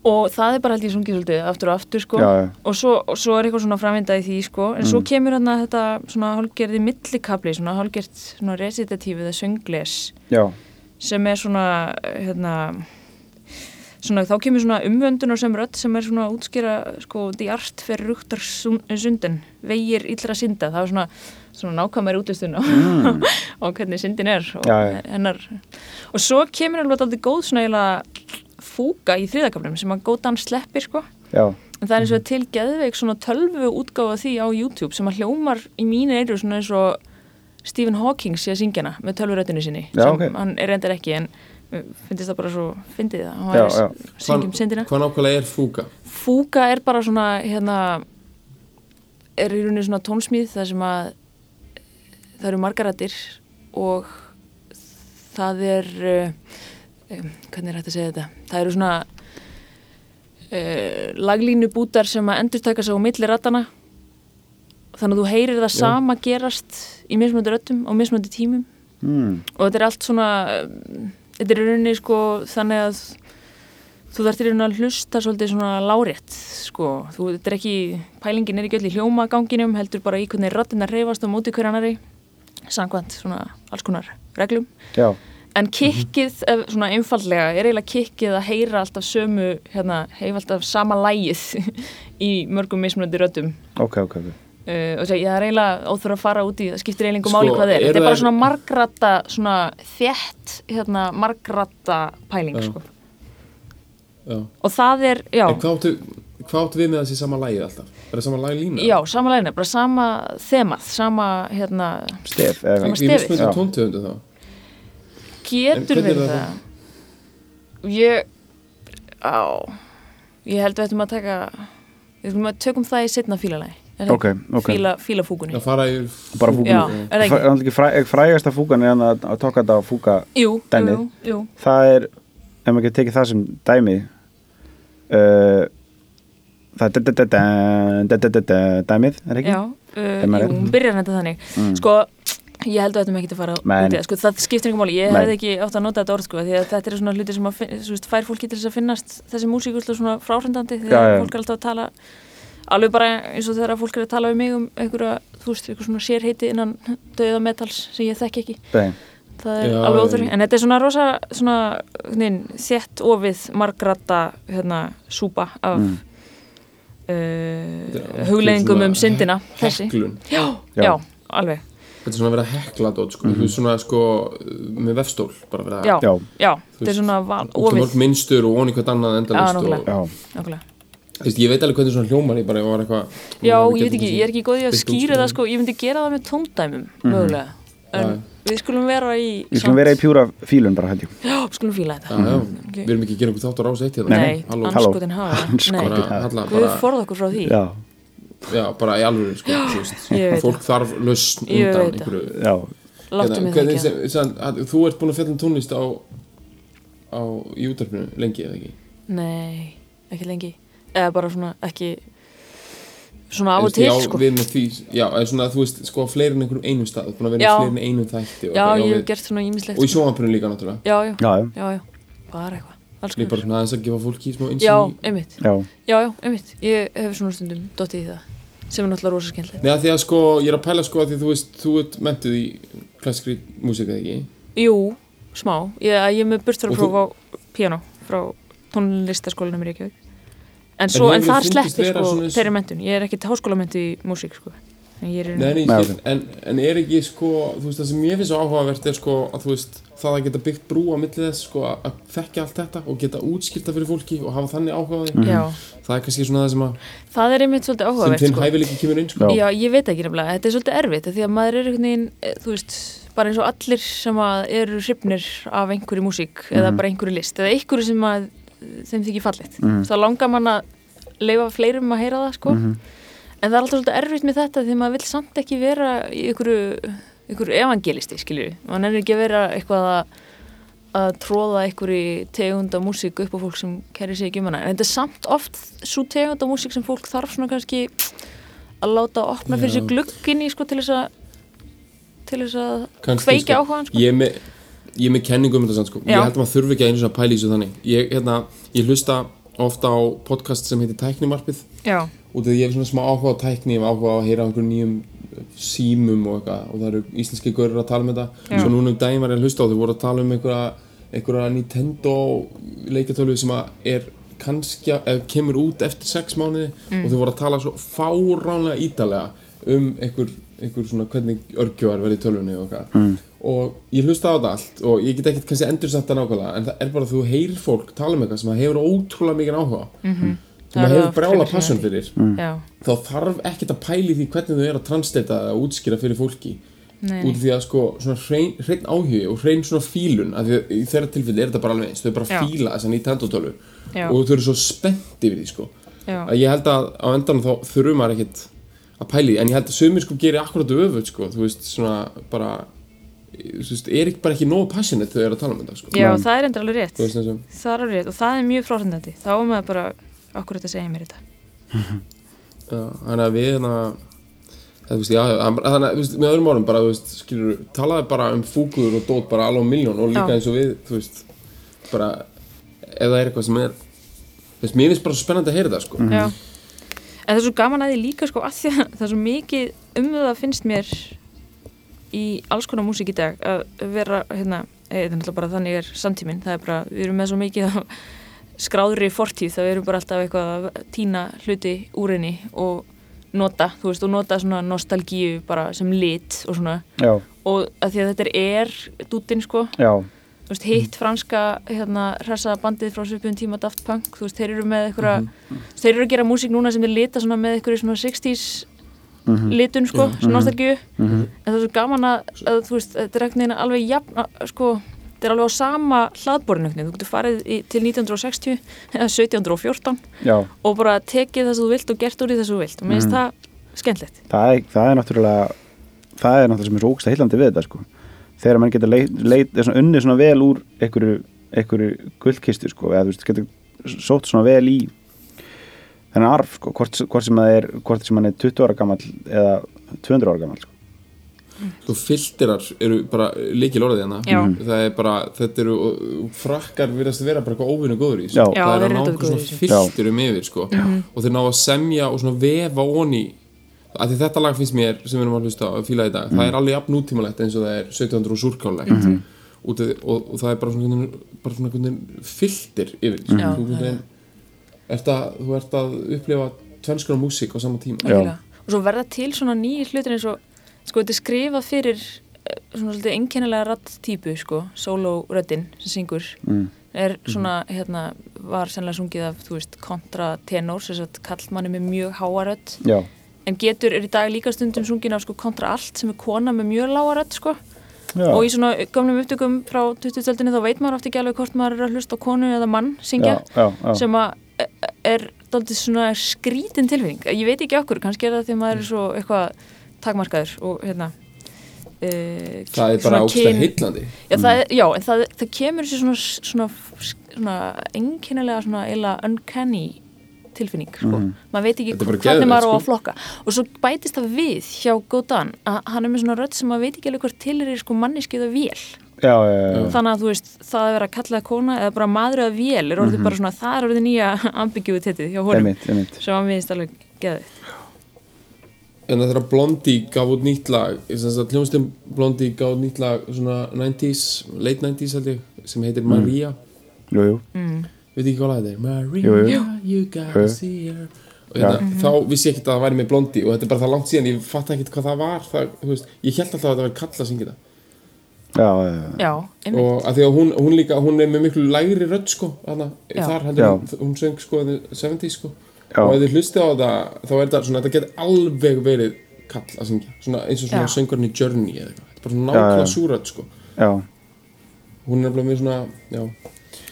E: og það er bara held ég sungið svolítið aftur og aftur sko
C: Já, já. Mm.
E: og svo, og svo er eitthvað svona framvindað í því sko en svo kemur hann þetta svona hálgerði millikabli svona hálgert svona recitatífið að söngles
C: já,
E: sem er svona hérna svona þá kemur svona umvöndunar sem rödd sem er svona að útskýra sko því art fer rúktar sundin vegir illra synda það er svona, svona nákvæmari útlistun á, (laughs) á hvernig syndin er og,
C: Mm. Já, já.
E: hennar og svo kemur alveg aldrei góð svona eiginlega fúka í þriðakaflum sem að góðan sleppir sko
C: já,
E: en það er eins
C: Mhm.
E: og til geðveik svona tölvu útgáfa því á YouTube sem að hljómar í mínu eiru svona eins og Stephen Hawking sé að syngja hana með tölvuröttinu sinni
C: Já,
E: sem
C: ok.
E: hann er reyndar ekki en uh, finnst það bara svo, fyndið það hann
C: Já,
E: var að
C: já.
E: s- syngja um syndina
D: hvað nákvæmlega er fúka?
E: Fúka er bara svona hérna er í rauninni svona tónsmíð þar sem að það eru margarættir og það er uh, um, hvernig er hægt að segja þetta það eru svona uh, laglínu bútar sem að endur taka sig á milli rættana þannig að þú heyrir það sama gerast í mismöndi röttum og mismöndi tímum
C: mm,
E: og þetta er allt svona um, þetta er í rauninni sko þannig að þú þarf til að hlusta svolítið svona lárétt sko, þú, þetta er ekki pælingin er ekki öll í hljómaganginum heldur bara í hvernig röttina reyfast á móti hver annari samkvæmt svona alls konar reglum
C: já,
E: en kikkið, mm svona einfallega er eiginlega kikkið að heyra alltaf sömu hérna, heyfa alltaf sama lægið (laughs) í mörgum mismunandi röttum
C: ok, ok, ok,
E: Uh, og segja, ég er eiginlega óþur að fara út í það skiptir eiginlega
D: Sko,
E: máli hvað það er, þetta
D: eru
E: er bara
D: þær-
E: svona margratta svona þétt hérna, margratta pæling
D: Já.
E: sko.
D: Já.
E: og það er, já,
D: En hvað áttu, hvað áttu við með þessi sama lægið alltaf? Er það sama lægi lína?
E: já sama lægina bara sama þemað, sama hérna,
C: stef, eða,
E: Sama
D: Í
E: stefið.
D: mismunandi
C: Já.
D: tóntöfundu þá?
E: getur
D: En hvernig er
E: verið
D: það
E: það, ég á ég held við ættum að taka við ættum að tökum það í setna fílalagi Er það
C: Ok,
E: ekki?
C: ok.
E: fíla, fílafúkunni
D: Að fara yfir
C: bara
E: já,
C: fúkun,
E: er það
C: það
E: ekki?
C: er ekki fræ, frægasta fúkan er hann að tóka þetta á fúka,
E: Jú, jú,
C: Dæmið.
E: jú, jú.
C: það er, ef maður getur tekið það sem dæmi, uh, það er da-da-da-da-da-da-da-da dæmið, er ekki?
E: Já, uh,
C: Er maður
E: jú,
C: rétt? Mm.
E: hún byrjar þetta þannig Sko, ég held að þetta með ekki að fara út
C: Nei.
E: í það, sko, það skiptir einhver máli, ég
C: Nei.
E: hefði ekki átt að nota þetta orð sko, því að þetta er svona hluti sem að finn, svo veist, fær fólki til þess að finnast þessi músíkuslu svona fráhrindandi því að
C: Já, já.
E: fólk er alltaf að tala alveg bara eins og þegar fólk er að tala um mig um einhverja, þú veist, einhver svona sérheiti innan döiða metals sem ég þekki ekki
C: Nei.
E: það er
D: Já,
E: alveg
D: já.
E: óþurri, en þetta er svona rosa svona, nein, þétt ofið margrata, hérna, súpa af mm.
D: Þetta er
E: hugleðingum
D: svona
E: um syndina
D: hek-
E: þessi.
D: heklun.
E: já,
C: Já.
E: já, alveg
D: Þetta er svona að vera hekla dót sko, þú veist svona sko með vefstól, bara vera
E: Mhm. já,
C: Já.
E: já, þetta er
D: veist,
E: svona val,
D: Óttu mörg
E: ofið
D: minnstur og onni hvert annað
E: Já,
D: endalist og,
E: nákvæmlega.
C: Já,
E: Nákvæmlega.
D: þú veist, ég veit alveg hvernig svona hljómar ég bara, ég var hérna eitthvað
E: já, ég veit ekki, ég er ekki góð í að
D: Byggt
E: skýra
D: útskýringu.
E: það sko, ég myndi gera það með tóndæmum mögulega, en
D: Já.
E: við skulum vera í
C: við skulum vera í pjúra fílun bara held ég
E: já, skulum fíla þetta
D: Já, já, við erum ekki að gera einhver þátt á rása eitt hérna
E: Mm, nei,
D: halló,
C: Halló.
E: anskotin hafa
C: Andskotin
D: bara,
E: nei,
D: halla,
E: við
D: bara,
E: forða okkur frá því
C: Já,
D: já, bara í alvöru sko, þú veist,
E: ég veit
D: fólk þarf lausn
E: Ég
D: undan
E: veit það.
D: einhverju Hérna,
C: já,
E: láttu mig það
D: hvernig
E: ekki
D: sem, sem, að, þú ert búin að fjalla um tónlist á, á í útarpinu lengi eða ekki
E: nei, ekki lengi eða bara svona, ekki svona á
D: Þú
E: og
D: veist,
E: til
D: já,
E: sko
D: við með því, já, eða svona þú veist sko á fleiri en einhverjum einum stað, þú ert búin að vera
E: Já.
D: í fleiri en einum þætti og,
E: já,
D: eitthvað,
E: ég hef
D: við-
E: gert svona ímislegt
D: og í sjónvarpinu líka náttúrulega
C: já,
E: já, já, já, já, bara eitthvað alls
D: líka bara
E: konar.
D: svona aðeins að gefa fólki smá
E: já,
D: einsinn í
E: einmitt
C: já,
E: Já, já, einmitt, ég hef svona stundum dottið í það sem er náttúrulega rosa skemmtilegt
D: Nei, að því að sko, ég er að pæla sko að því þú veist, þú ert mentuð í klassikri músík eða ekki
E: Jú, smá, ég, ég er með
D: Og
E: burtverðarpróf
D: þú-
E: á piano frá tónlistaskólanum í Reykjavík En, svo,
D: hefur
E: en þar
D: þér fundist
E: sleppir
D: vera
E: sko
D: svona eins-
E: þeirri mentun, ég er ekki háskólamöntu í músík sko En ég er í
D: Nei,
E: rauninni-
D: nei,
C: Nei,
D: ég skil, en, en er ekki sko, þú veist, það sem ég finnst svo áhugavert er sko að þú veist, það að geta byggt brú á milli þess sko að að þekkja allt þetta og geta útskilta fyrir fólki og hafa þannig áhugaði
E: Já,
D: það er kannski svona það sem að
E: það er einmitt svolítið
D: sem
E: áhugavert
D: þinn
E: sko
D: hæfileiki kemur inn sko
C: Já.
E: Já, ég veit ekki nefnilega, þetta er svolítið erfitt af því að maður er einhvern veginn, eh, þú veist bara eins og allir sem að eru hrifnir af einhverju músík eða bara einhverju list eða einhverju sem að eh, þeim þykir fallit mm. þá langar mann að leifa fleirum að heyra það sko En það er alltaf svolítið erfitt með þetta því maður vill samt ekki vera í einhverju, einhverju evangelisti, skilju. Man er ekki að vera eitthvað að, að tróða einhverju tegunda músík upp á fólk sem kæri sig ekki um hana. En þetta er samt oft svo tegunda músík sem fólk þarf svona kannski að láta opna fyrir
D: Já.
E: sig glugginni, sko, til þess að til þess að
D: Kannski, sko.
E: kveikja áhugan, sko.
D: Ég er með, ég er með kenningum þetta samt sko
E: Já.
D: Ég held að maður þurfi ekki einu svona pæli í þessu þannig ég, hérna, ég hlusta ofta á podcast sem heitir Tæknimarpið
E: Já,
D: Út af því ég hef svona smá áhuga á tækni Ég hef áhuga á að heyra á einhverjum nýjum eh, símum og eitthvað Og það eru íslenski görur að tala um þetta
E: Já.
D: Svo núna um daginn var ég að hlusta á þau voru að tala um einhverja, einhverja Nintendo leikatölu sem að er kannski að kemur út eftir sex mánuði
E: Mm.
D: og þau voru að tala svo fáránlega ítalega um einhver, einhver svona hvernig örgjóðar verði í tölvunni og eitthvað mm. og ég hlusta á þetta allt og ég get ekkert kannski endursett það nákvæmlega en það er bara að þú heyrir fólk tala um eitthvað sem það hefur ótrúlega mikið áhuga mm -hmm.
E: Það
D: sem það
E: er
D: hefur
E: það
D: brjála
E: frekar
D: passion
E: sem
D: fyrir
E: já,
D: þá þarf ekkert að pæli því hvernig þau er að translita eða útskýra fyrir fólki
E: Nei.
D: út af því að sko svona hrein, hrein áhugi og hrein svona fílun af því að í þeirra tilfelli er þetta bara alveg eins þau bara
E: Já.
D: fíla þessa Nintendo tölu
E: Já.
D: og þau eru svo spennt yfir því sko
E: Já.
D: að ég held að á endanum þá þurfum maður ekkert að pæli en ég held að sömur sko gerir akkurat öfut sko þú veist svona bara þú veist er ekki bara ekki nógu passionate þau eru að tala um þetta sko
E: já það er endur alveg rétt.
D: þú veist þessum
E: Það er alveg rétt og það er mjög fráhrindandi. Þá er maður bara, okkur þetta segja mér þetta.
D: Já, þannig að við hérna Það, þú veist, já, hann- þannig að, þú veist, með öðrum orðum bara, þú veist, skilur, talaði bara um fúkuður og dót bara alveg á miljón og líka
E: Já.
D: eins og við, þú veist, bara, ef það er eitthvað sem er, þú veist, mér finnst bara svo spennandi að heyra það, sko.
E: Já. En það er svo gaman að því líka sko að því að það er svo mikið um það finnst mér í alls konar músík í dag að vera hérna, eða náttúrulega bara þannig er samtíminn, það er bara, við erum með svo mikið af skráðri fortíð, það erum bara alltaf eitthvað að týna hluti úr henni og nota, þú veist, og nota svona nostalgíu bara sem lit og svona
C: já,
E: og að því að þetta er er dútin sko,
C: já,
E: þú veist, hitt franska hérna, hressa bandið frá svipun tíma Daft Punk, þú veist, þeir eru með einhverja þeir eru að gera músík núna sem er lita svona með einhverju svona 60s litun, sko, svona nostalgíu en það er svo gaman að, að þú veist, þetta er einhvern veginn alveg jafn, að- sko þetta er alveg á sama hlaðborinu einhvern veginn. þú getur farið í, til 1960 eða 1714
C: já.
E: og bara tekið það sem þú vilt og gert úr í það sem þú vilt og mér finnst það skemmtlegt
C: það er, það er náttúrulega það er náttúrulega sem er svo ógsta heillandi við þetta sko. þegar mann geta leit, leit, svona, unnið svona vel úr einhverju, einhverju gullkistu sko, eða þú veist, geta sótt svona vel í þennan arf sko, hvort, hvort sem það er, hvort sem hann er 20 ára gamall eða 200 ára gamall sko.
D: Þú filterar eru bara líkil orðið hérna.
C: Mhm.
E: Já.
D: Það er bara, þetta eru, og- og frakkar virðast að vera bara eitthvað óvinnu góður í,
C: Já. Já,
D: sko. það er
E: þeir
D: að
E: eru
D: ná
E: dálítið
D: einhver
E: góðir í Mhm.
D: svona filterum yfir, sko. Og þeir ná að semja og svona vefa onni, af því þetta lag finnst mér, sem við erum að hlusta á, að fíla í dag, það
C: Mhm.
D: er alveg jafn nútímalegt eins og það er 1700 og súrkálulegt.
E: Mhm.
D: Út af- og, og það er bara svona, einhvern veginn- bara svona einhvern veginn filter yfir, sko.
E: Mhm.
D: Þú
E: Já,
D: einhvern
E: það er-
D: veginn ert að, þú ert að upplifa tvennskona músík á sama tíma.
C: Já.
E: Algjörlega. og svo verða til svona nýjir hlutir eins og sko þetta er skrifað fyrir eh, svona svolítið einkennilega ratt típu sko, solo röddin sem syngur mm. er svona hérna var sennilega sungið af þú veist kontratenor sem sagt kallmanni með mjög háarödd
C: já,
E: en getur er í dag líka stundum sungin af sko kontra allt sem er kona með mjög lágarödd sko
C: já,
E: og í svona gamlum upptökum frá 20-töldinni þá veit maður oft ekki alveg hvort maður er að hlusta á konu eða mann syngja
C: Já, já, já.
E: sem að e- e- er daldið svona skrítin tilfinning ég veit ekki okkur, kannski er það því maður er svo eitthvað takmarkaður og hérna e,
D: Það er bara ákveða heitlandi.
E: já, það, er- já, en það, það kemur sér svona, svona, svona einkennilega svona eila uncanny tilfinning sko. maður veit ekki
D: Mm. Þetta er bara
E: hvernig maður á
D: geðveikt, sko.
E: að flokka og svo bætist það við hjá Góðan að hann er með svona rödd sem maður veit ekki alveg hvort til er sko manniskið að vél
C: já, já, já, já.
E: þannig að þú veist, það að vera að kalla kona eða bara maður eða vél er
D: Mhm.
E: orðið bara svona það er orðið nýja (laughs) ambigjóðu hjá honum
C: Einmitt, einmitt.
E: sem að minnst alveg geðið
D: en það þegar Blondie gaf út nýtt lag þess að hljómsdým Blondie gaf út nýtt lag svona 90s, late 90s held ég sem heitir
C: Mm.
D: Maria
C: Jú, jú.
D: veit ekki hvað lag þetta er Maria,
C: Jú, jú.
D: you gotta
C: Jú.
D: see her og hérna, þá vissi ég ekkert að það væri með Blondie og þetta er bara það langt síðan, ég fatt ekkert hvað það var það, þú veist, ég held alltaf að þetta væri kalla að syngja það
C: já, já, já.
E: já, einmitt,
D: og að því að hún, hún líka, hún er með miklu lægri rödd sko, hana,
E: Já.
D: þar heldur
C: Já.
D: hún, hún söng sko the 70s sko,
C: Já.
D: og ef þið hlustið á þetta þá er þetta svona, þetta getur alveg verið kall að syngja, svona eins og svona
E: Já.
D: söngurinn í Journey eða eitthvað, þetta er bara
C: Já, já, já.
D: svona nákvæmlega súrödd sko
C: já.
D: hún er alveg með svona, já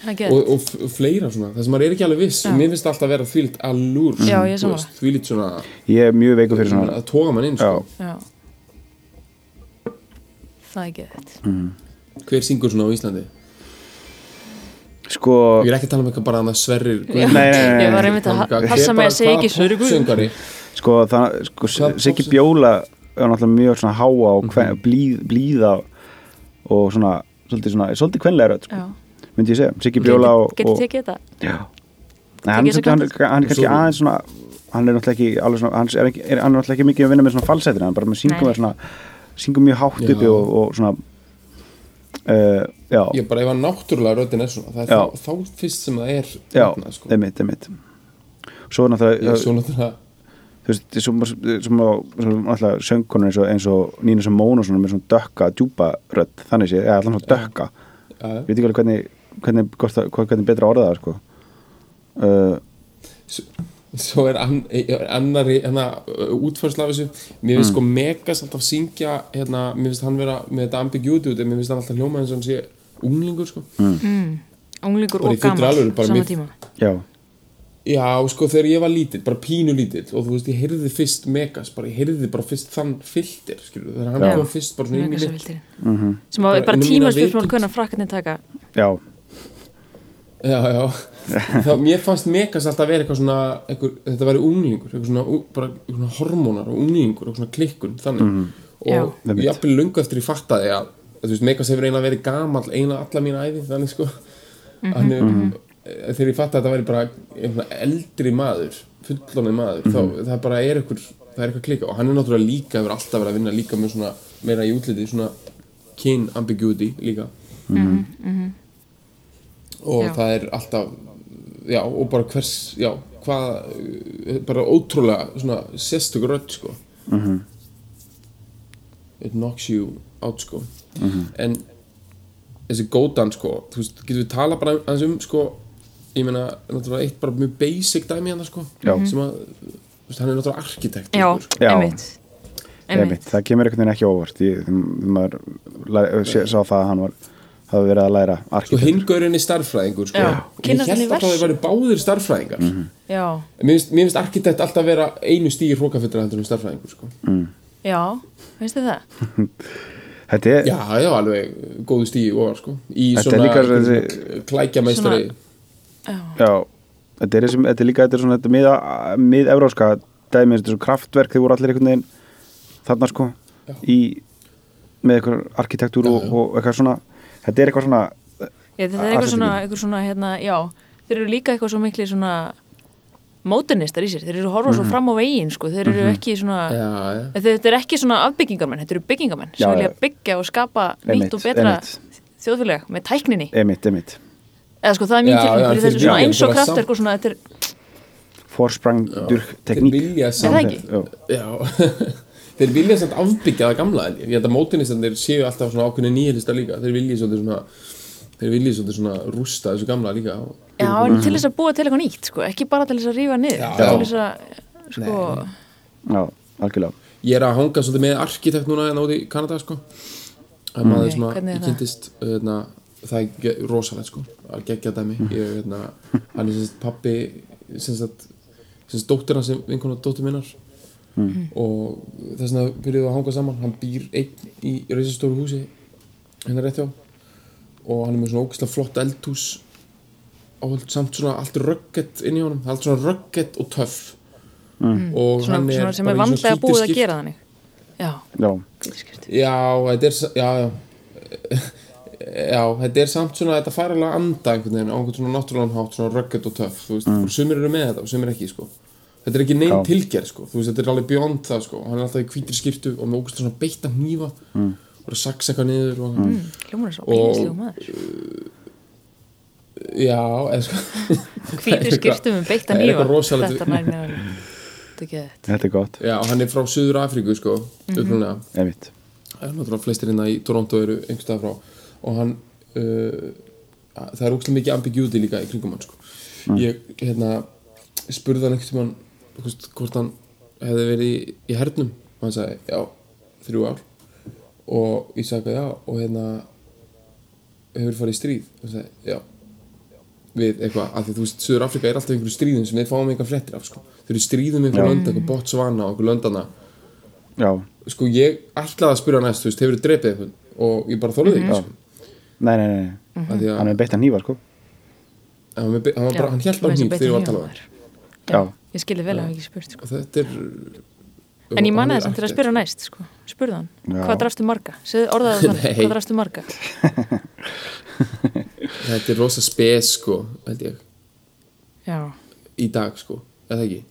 E: Það er geðvægt.
D: og, og f- fleira svona, það sem maður er ekki alveg viss og mér finnst alltaf að vera þvílitt allúr
E: Já, ég er sammála.
D: þvílitt svona
C: ég er mjög veiku fyrir svona
D: að toga mann inn
C: já,
D: sko.
E: Já. Það er geðvægt.
D: hver syngur svona á Íslandi
C: sko
D: ég er ekki að tala um eitthvað bara annað sverrir
E: Já.
C: Nei, nei, nei, nei.
E: Ég var einmitt að ha- passa mig að segja ekki sörgu.
D: söngari
C: sko, það, sko
D: Hvað-
C: Siggi Bjóla er náttúrulega mjög svona háa og kven,
D: Mhm.
C: blíð, blíða og svona svolítið, svona, svolítið kvenlega rödd sko,
E: Já.
C: myndi ég segja, Siggi Bjóla og,
E: Getur
C: og
E: tekið þetta?
C: Já. Nei, hann, er svolítið-
E: Tekið þessu
C: hann, er- hann er kannski
D: Svo-
C: aðeins svona hann er náttúrulega ekki alveg svona hann er, ekki, er, hann er náttúrulega ekki mikið að vinna með svona falsettina hann bara með syngum
E: Nei.
C: er svona syngum mjög hátt
D: Já.
C: uppi og, og svona uh, já,
D: ég bara ef að náttúrulega röddinn er svona það
C: Já.
D: er þá, þá fyrst sem það er
C: já,
D: þarna, sko.
C: einmitt, einmitt svo er náttúrulega
D: ég er svo náttúrulega
C: þú veist, svo, eh, svo, svo, svo náttúrulega söngkonur eins og, eins og Nínu Simón og svona með svona dökka, djúpa rödd, þannig sé, eða allan svona dökka ég
D: já,
C: veit ekki alveg hvernig hvernig, hvort það- hvað- hvernig betra orða það, sko uh,
D: svo, svo er an, er annari hérna, útfærsla af þessu mér
C: Mm.
D: finnst sko megas alltaf syngja hérna, mér finnst hann vera með þetta ambiguity út en mér finnst hann alltaf hljóma eins og hann sé unglingur sko
C: Mm.
E: Unglingur
D: Bara
E: og
D: í fullri
E: gammal
D: alvöru, bara
E: á sama
D: mér-
E: tíma.
C: já,
D: Já, sko, þegar ég var lítill, bara pínu lítill og þú veist, ég heyrði fyrst Megas, bara ég heyrði bara fyrst þann filter, skilur, þegar hann
C: Já.
D: kom fyrst bara svona inn í mitt
E: Megasafildurinn. Sem að
D: Bara
E: bara
D: inn í mína
E: tímaspjörsmál
D: vitund.
E: kunna frakkarnir taka.
C: já,
D: Já, já, þá mér fannst Megas alltaf vera eitthvað svona, eitthvað, þetta væri unglingur, eitthvað svona, ú- bara eitthvað svona hormónar og unglingur, eitthvað svona klikkun, þannig og
C: Já.
D: ég jafnvel löngu eftir ég fattaði að, að þú veist, Megas hefur eina verið gamall eina alla mína æði, þannig sko hann hefur, þegar ég fattaði að þetta væri bara einhverja eldri maður fullonið maður, þá það bara er eitthvað, það er eitthvað klika og hann er náttúrulega líka hefur alltaf verið að vinna líka með svona meira í útliti, svona kyn ambiguity líka og
E: Já.
D: það er alltaf já, og bara hvers, já hvað, eh, bara ótrúlega svona sérstök rödd, sko it knocks you out, sko en þessi góðan, sko, þú veist, getum við tala bara aðeins um, sko, ég meina náttúrulega eitt bara mjög basic dæmi hérna, sko
C: Já.
D: sem að, þú veist, hann er náttúrulega arkitekt
E: Já,
D: sko.
C: Já.
E: einmitt.
C: Einmitt.
E: Einmitt.
C: það kemur einhvern veginn ekki á óvart ég, þegar maður læ- sé- sá það að hann var hafa verið að læra
D: Sko
C: arkitekt
D: hingurinn er starffræðingur sko.
E: Já.
D: og ég
E: Kynnast henni
D: held alltaf að þeir
E: verst.
D: væri báðir starffræðingar
E: Já.
D: mér, finnst, mér finnst arkitekt alltaf vera einu stígi hrókafittra heldur en starffræðingur sko.
E: Já. Finnst þið það?
C: þetta er,
D: já, já, alveg góðu stígi ofar sko. í
C: Þetta er
D: svona,
C: líka
D: einhverjum
C: þessi-
D: svona klækjameistari
E: Svona-
C: já, þetta er, sem, þetta er líka þetta er svona þetta miða, mið-evróska dæmi, þetta er svo kraftverk þegar voru allir einhvern veginn þarna sko í, með eitthvað arkitektúr og, og eitthvað svona þetta er eitthvað svona
E: Ég, þetta er eitthvað svona,
C: Arkitektur.
E: eitthvað svona hérna, já, þeir eru líka eitthvað svo miklu svona mótinistar í sér, þeir eru að horfa svo fram á veginn, sko, þeir eru ekki svona,
D: já, já.
E: þetta er ekki svona afbyggingarmenn, þetta eru byggingarmenn
C: Já,
E: sem vilja
C: já.
E: byggja og skapa
C: Einmitt,
E: nýtt og betra
C: einmitt.
E: þjóðfélag með tækninni,
C: emitt, emitt,
E: eða sko það er mín
D: Já, já,
E: tilfinning,
D: þeir
E: þetta er svona
D: vilja
E: eins og
D: bara
E: kraft eitthvað svona, þetta er,
C: forsprang, durk,
D: þeir
C: tekník
D: vilja
E: það
D: samt
E: ekki?
C: Já.
D: já. (laughs) þeir vilja samt afbyggja það gamla held ég. ég held að mótinistandir séu alltaf svona ákveðni nýjilista líka þeir vilja svolítið svona þeir vilja svolítið svona rústa þessu gamla líka
E: já,
C: Mm.
E: en til þess að búa til eitthvað nýtt, sko, ekki bara til þess að rífa niður,
D: Já,
E: til
D: já.
E: þess að, sko,
C: já, algjörlega
D: ég er að hanga svolítið með arkitekt núna en áti í Kanada sko að maður
E: Nei,
D: sem
E: hvernig er
D: ég
E: það?
D: kynntist hérna, það er ge- rosalegt sko að gegja dæmi ég, hérna, hann er semst pappi semst, semst dóttirna sem einhvern dóttir minnar
E: Mm.
D: og þess vegna byrjuðum við að hanga saman hann býr einn í reisastóru húsi hérna rétt hjá og hann er með svona ógeðslega flott eldhús og samt svona allt ruggett inn í honum, allt svona ruggett og töff og
E: Mm. svona,
D: hann er
E: svona sem
D: bara í svona
E: er vandlega
D: hvítu
E: búið að
D: skyrtu.
E: gera þannig, já,
C: já,
E: hvítiskirtu.
D: Já, þetta er, sa- já, já (laughs) Já, þetta er samt svona, þetta fær alveg að anda einhvern veginn á einhvern svona náttúrulegan hátt, svona rugged og töff, þú veist, mm. sumir eru með þetta og sumir ekki, sko Þetta er ekki neinn
C: Já.
D: tilgerð, sko, þú veist, þetta er alveg beyond það, sko Hann er alltaf í hvítri skiptu og með ógustlega svona beitta hnífa mm. og er að saksa eitthvað niður og mm.
E: Hljómar er svo
D: Og-
E: ógæðslegu maður.
D: Já, eða (laughs) sko
E: hvítu skirtum um beittan
D: Það er
E: hnífa
D: eitthvað rosalegt
E: þetta nær mér alveg. þetta er ekki þetta
C: þetta er gott,
D: Já, hann er frá Suður Afríku, sko, mm
C: emitt
D: það er náttúrulega flestir hérna í Toronto eru einhverstað frá og hann uh, það er ógstlega mikið ambiguity líka í kringum hann sko. ég hérna spurði hann einhvern tímann hvort- hvort hann hefði verið í, í hernum og hann sagði já, þrjú ár og ég sagði já og hérna hefur farið í stríð og hann sagði já við eitthvað, af því þú veist, Suður Afrika er alltaf í einhverju stríðum sem við fáum einhver fréttir af, sko þau eru í stríðum einhverju lönd, eitthvað Botswana og einhverju löndana,
C: já,
D: sko ég ætlaði að spyrja næst, þú veist, hefur drepið einhvern og ég bara þorði því,
E: Mhm.
D: mm -hmm.
C: nei, nei, nei, nei.
D: sko af því að
C: hann er beitt að nýfa sko
D: hann, var með- hann, var bara, hann hjælt bara
E: með þessu
D: hýtt þegar ég var að
E: beinni
D: tala um það
E: hjá þér.
C: Já.
E: Já, ég skilði vel að hafa ekki spurt sko.
D: og þetta er
E: En ég manna
D: hann er
E: þess að til að
D: arkitekt.
E: spyrja næst sko. Spurði hann,
C: Já.
E: hvað drafstu marga? Segðu orðaðu þannig,
D: Nei.
E: hvað drafstu marga?
D: þetta er rosa spes, sko, held ég
E: Já,
D: í dag, sko, eða ekki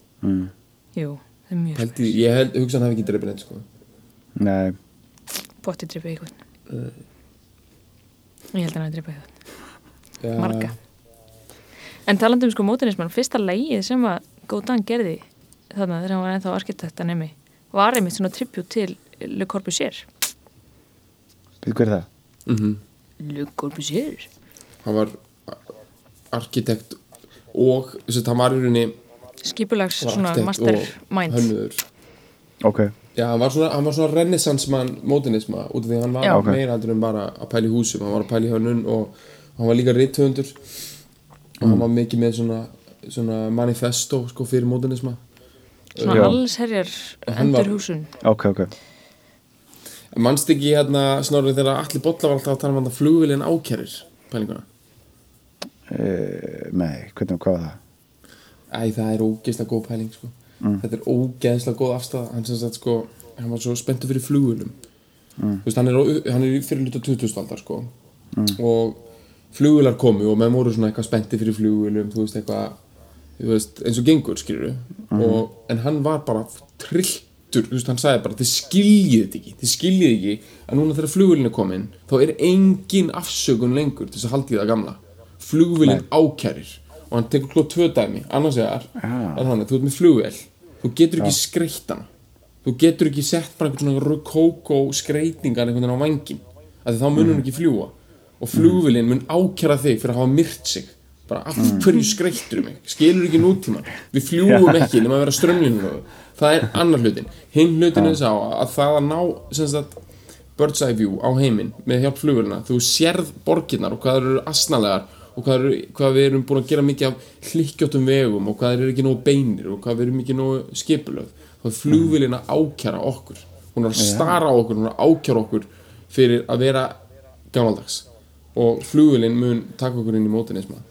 E: jú, það er mjög
D: held ég, ég held, hugsa hann hafi ekki drefin eitt, sko
C: nei,
E: bótti drepa einhvern
D: Uh.
E: Ég held að hann að drepa einhvern,
D: Já,
E: marga En talandi um sko mótinismann, fyrsta lægið sem að Góðan gerði þarna þegar hann var ennþá arkitekta nemi var einmitt svona tribut til Le Corbusier
C: við hver er það
E: Le Corbusier?
D: hann var arkitekt og þess að hann var í rauninni
E: Skipulags
D: var
E: svona
D: arkitekt og
E: mastermind
D: hönnuður
C: ok,
D: Já, hann var svona, hann var svona renaissansmann mótinisma út af því að hann var
E: Já.
D: Já, meira heldur en bara að pæla í húsum, hann var að pæla í hönnun og hann var líka rithöfundur og hann var mikið með svona, svona manifesto sko fyrir mótinisma
C: Já.
E: Svona allsherjar
D: hann var-
E: endurhúsun
C: ok, ok
D: Manst ekki hérna snorrið þegar Alli Bolla var alltaf að tala um hann að flugvilin ákerir pælinguna
C: e, nei, hvernig, hvað var það
D: Æ, það er ógeðslega góð pæling sko. Þetta er ógeðslega góð afstæða Hann sem sagt sko, hann var svo spenntur fyrir flugulum Þú veist, hann er, á- hann er í fyrir luta 2000 aldar sko. Og flugular komu og menn voru svona eitthvað spennti fyrir flugulum Þú veist, eitthvað þú veist, eins og gengur skilur og, En hann var bara trilltur Þú veist, hann sagði bara, þið skiljið þetta ekki Þið skiljið ekki að núna þegar flugulin er komin Þá er engin afsökun lengur til þess að haldi það gamla Flugulin ákærir og hann tekur klóð tvö dæmi annars vegar er þannig að þú ert með flugvél þú getur ekki skreitt hana þú getur ekki sett bara einhvern svona kókó skreitingar einhvern veginn á vangin af því þá mun hún ekki fljúa og flugvélin mun ákjara þig fyrir að hafa myrt sig bara af hverju skreittur mig skilur ekki nútíman, við fljúum ekki nema að vera strömlinu það er annar hlutin hinn hlutin er þess á að það að ná sem sagt bird's eye view á heiminn með hjálp flugurina þú sérð borginnar og hvað þær eru asnalegar og hvað, þær eru, hvað við erum búin að gera mikið af hlikkjóttum vegum og hvað þær eru ekki nógu beinir og hvað við erum ekki nógu skipulöð þá er flugvélina
C: Mm.
D: ákjara okkur hún er að stara á okkur, hún er að ákjara okkur fyrir að vera gamaldags og flugvélin mun taka okkur inn í mótinisma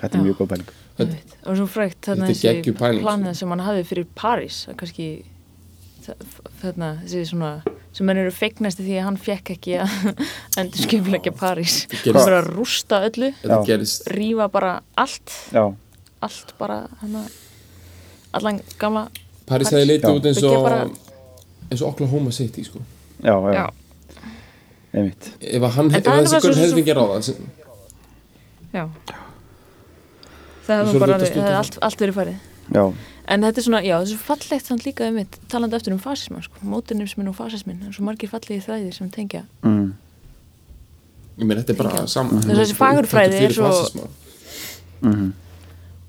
C: þetta er mjög góð pæling
E: Ég veit, og svo frækt þarna
D: Þetta er
E: þessi
D: geggjuð pæling, sko.
E: planið sem hann hafði fyrir París að kannski þa- þarna þessi svona sem hann eru feignasti því að hann fekk ekki að (laughs) endur skipleggja París hann
D: gerist-
E: var að rústa öllu
D: þetta
C: Já.
D: gerist
E: rífa bara allt
C: já,
E: allt bara hana, allan gamla
D: Paris hefði
C: Já.
D: litið út eins
E: Byggja
D: og
E: bara-
D: eins og Oklahoma City sko
C: já, já,
E: já,
C: einmitt
D: ef, að hann,
E: En
D: ef
E: það er
D: þessi
E: bara
D: gaur
E: svo-
D: hefði ekki ráða sem-
E: já. það
D: Svo
E: hefði bara
D: lítast
E: alveg-
D: út
E: hefði
D: af-
E: allt, allt verið farið
C: já,
E: En þetta er svona, já, þetta er svo fallegt samt líka um mitt, talandi eftir um fasismann, sko, mótinismin og fasismin, það er svo margir fallegi þræðir sem tengja.
C: mm,
D: ég meina þetta er bara saman
E: Þessi fagurfræði er svo-
D: fasisma.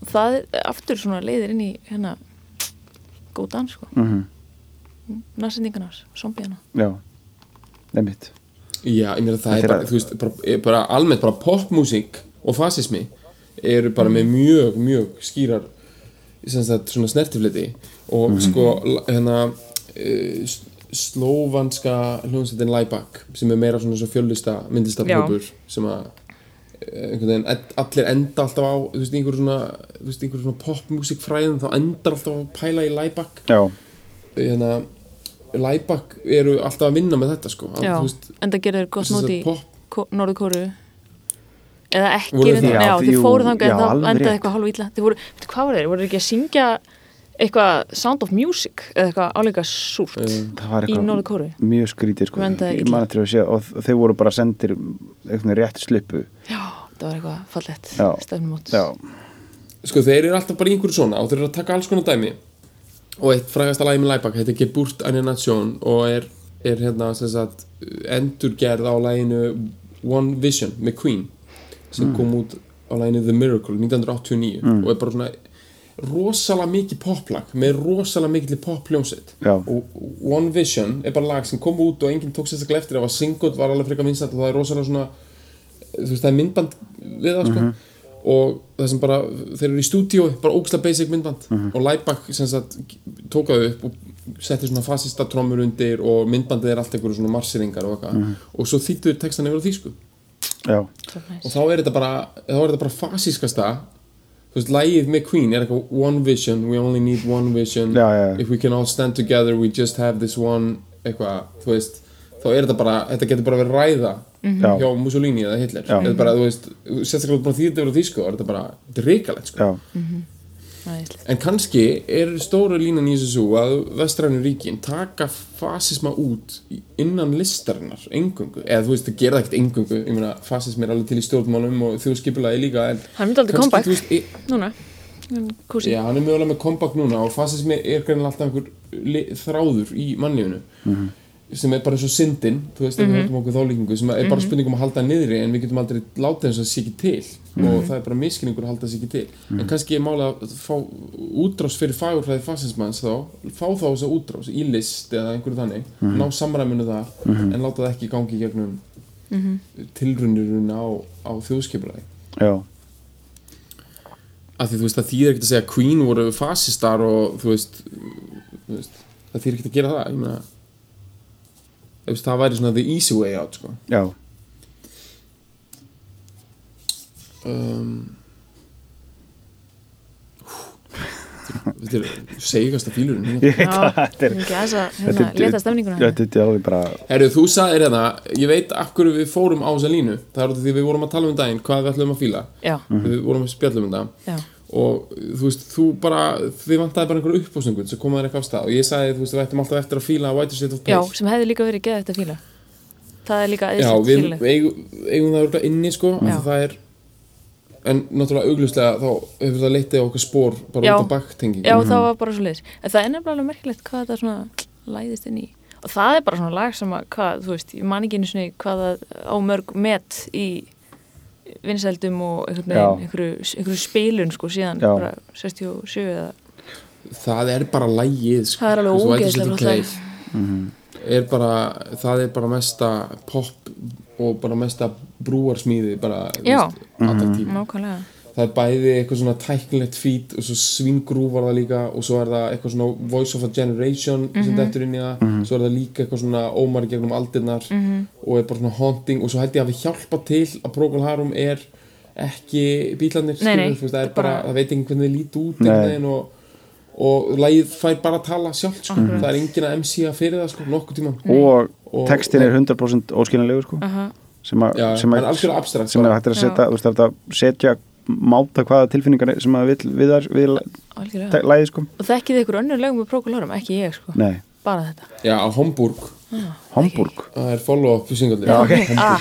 E: Það er aftur svona leiðir inn í hérna góðan, sko,
C: mm
E: nasendingan ás, zombiðana.
C: já einmitt,
D: Já, ég meina
C: Þetta
D: það er
C: er
D: bara,
C: að-
D: þú veist, bara, er bara almennt bara popmúsík og fasismi eru bara með mjög, mjög skýrar sem sagt svona snertifliti og
C: Mhm.
D: sko la- hérna uh, slóvanska hljónsættin Læbak sem er meira svona svo fjöllista myndistafnhópur sem að eh, einhvern veginn, ed- allir enda alltaf á þú veist, einhver svona, þú veist, einhver svona popmúsikfræðin þá endar alltaf á að pæla í Læbak
C: já,
D: hérna Læbak eru alltaf að vinna með þetta sko Að,
E: Já,
D: þú veist,
E: en það gerður gott
D: sem
E: nót
D: sagt,
E: í
D: pop-
E: Ko- Norður-Kóru, eða ekki,
D: Voru
E: reyndar-
D: það-
E: já,
C: Já,
E: þið
C: jú,
E: fóru þangað
C: já,
E: en það
C: alveg
E: endaði
C: rétt.
E: eitthvað hálf illa. Þið voru, veitu, hvað var þeir, voru þeir ekki að syngja eitthvað Sound of Music eða eitthvað áleika súrt
C: það var
E: í
C: eitthvað
E: Norður-Kóru?
C: mjög skrítið sko,
E: Vendaði
C: ég
E: illa.
C: man eftir að sé og þau voru bara sendir eitthvað rétt slippu
E: Já, það var eitthvað fallegt,
C: Já.
E: stefnumót.
C: já,
D: sko þeir eru alltaf bara í einhverju svona og þeir eru að taka alls konar dæmi og eitt frægasta lagi með Læbak heitir Geburt eine Nation og er, er hérna sem sagt endurgerð á laginu One Vision með Queen sem kom út á laginu The Miracle 1989 og er bara svona rosalega mikið poplag með rosalega mikið poppljónsett
C: Já.
D: og One Vision er bara lag sem kom út og enginn tók sérstaklega eftir það var singull, var alveg frekar vinsætt og það er rosalega svona þú veist, það er myndband við það sko. og það sem bara, þeir eru í stúdíu bara ógislega basic myndband og Læbak sem sagt tók það upp og setti svona fasista trommur undir og myndbandið er allt einhverju svona marseringar og eitthvað og svo þýttu þeir textan yfir á þýsku
C: já,
D: og þá er þetta bara, þá er þetta bara fasískasta þú veist, lægið með Queen er eitthvað one vision, we only need one vision
C: Já, já, já.
D: if we can all stand together we just have this one, eitthvað, þú veist þá er þetta bara, þetta getur bara verið ræða
C: Já.
D: hjá Mussolini eða Hitler
C: Mhm. Já.
D: þetta er bara, þú veist, sérstaklega búin að þýða þetta verið því sko, er þetta bara, þetta er reikalegt sko
C: já,
E: Æðislegt.
D: en kannski er stóra línan í þessu svo að vestrænu ríkin taka fasisma út í- innan listarinnar engungu, eða þú veist það gera það ekkert engungu, ég meina fasismi er alveg til í stjórnmálum og þjóðskipulagi líka en
E: Hann myndi aldrei
D: kannski,
E: comeback.
D: þú veist, e-
E: Núna, kúsi
D: Já, hann er mögulega með comeback núna og fasismi er greinilega alltaf einhver li- þráður í mannlífinu sem er bara eins og syndin, þú veist, mm -hmm. við okkur þálíkingu sem er bara spurning um að halda hann niðri en við getum aldrei látið eins og það sé ekki til og það er bara miskinningur að halda það sé ekki til en kannski er mála að fá útrás fyrir fagurfræði fasismans þá fá þá þess að útrás í list eða einhverju þannig, ná samræminu það en láta það ekki gangi í gegnum tilruniruna á, á þjóðskipulæði
C: já,
D: að því þú veist það þýðir ekkert að segja Queen voru fasistar og þú veist, þú veist það þýðir ekkert að gera það ég meina þú veist, það væri svona the easy way out sko.
C: já.
D: um, hú, þetta er segigast að fílurinn hérna.
C: Ég veit að þetta er
E: Mikið aðeins að hérna,
C: þetta er-
E: leta stemninguna
C: Já, þetta er alveg bara
D: Herru, þú sagðir hérna, ég veit af hverju við fórum á þessa línu það er út af því við vorum að tala um daginn hvað við ætlum að fíla
E: Já,
D: við vorum að spjalla um þetta
E: hérna. já,
D: og þú veist, þú bara þið vantaði bara einhverju uppbúsningun sem komaði ekki af stað og ég sagði, þú veist, við ættum alltaf eftir að fíla White Shade of
E: já,
D: Pale
E: sem hefði líka verið geða þetta fíla Það er líka
D: Já,
E: aðeinslega
D: við
E: fíla
D: eigum, eigum það örgulega inni sko,
E: Já.
D: en það er en náttúrulega augljóslega þá hefur það leitið á okkar spór bara
E: Já.
D: út af baktengingu
E: Já, það var bara svo leiðis En það er nefnilega alveg merkilegt hvað þetta svona læðist inn í Og það er bara svona lag sem að, hvað, þú veist, ég man ekki einu sinni hvað það á mörg met í vinsældum og einhvern veginn,
C: Já.
E: einhverju, einhverju spilun sko síðan,
C: Já.
E: bara 67 eða
D: það er bara lægið sko.
E: Það er alveg
D: Þú veist, White
E: ógeðslega
D: Shade of
E: flott lag.
D: Grey er bara, það er bara mesta pop og bara mesta brúarsmíði bara, þú
E: Já. Mm.
D: veist, allan tíma
E: nákvæmlega
D: það er bæði eitthvað svona tæknilegt fít og svo svingrúvar það líka og svo er það eitthvað svona voice of a generation
E: Mhm.
D: sem dettur inn í það, svo er það líka eitthvað svona ómar í gegnum aldirnar
E: Mhm.
D: og er bara svona haunting og svo held ég að við hjálpa til að Procol Harum er ekki bílarnir,
E: Nei, nei,
D: skilur, þú veist, það er
E: þetta er
D: bara,
E: bara-
D: það veit ekki hvernig þið líti út einhvern veginn og og lagið fær bara að tala sjálft sko.
E: Mhm.
D: það er engin að MC að fyrir það sko, nokkuð tíma
C: og
D: Og-
C: textin er 100% óskiljanlegur sko, sem, a,
D: Já,
C: sem,
D: hann er algjörlega abstrakt,
C: sem er
D: bara.
C: hægt er að setja, þú veist, það er hægt að setja máta hvaða tilfinningar sem að vill við, þar, við
E: algjörlega.
C: te- lagið sko
E: Og þekkið þið ykkur önnur lögum með prókulárum, ekki ég sko
C: Nei,
E: bara þetta
D: já, á Homburg,
C: Homburg
D: það er follow-up singaldir já,
E: ah,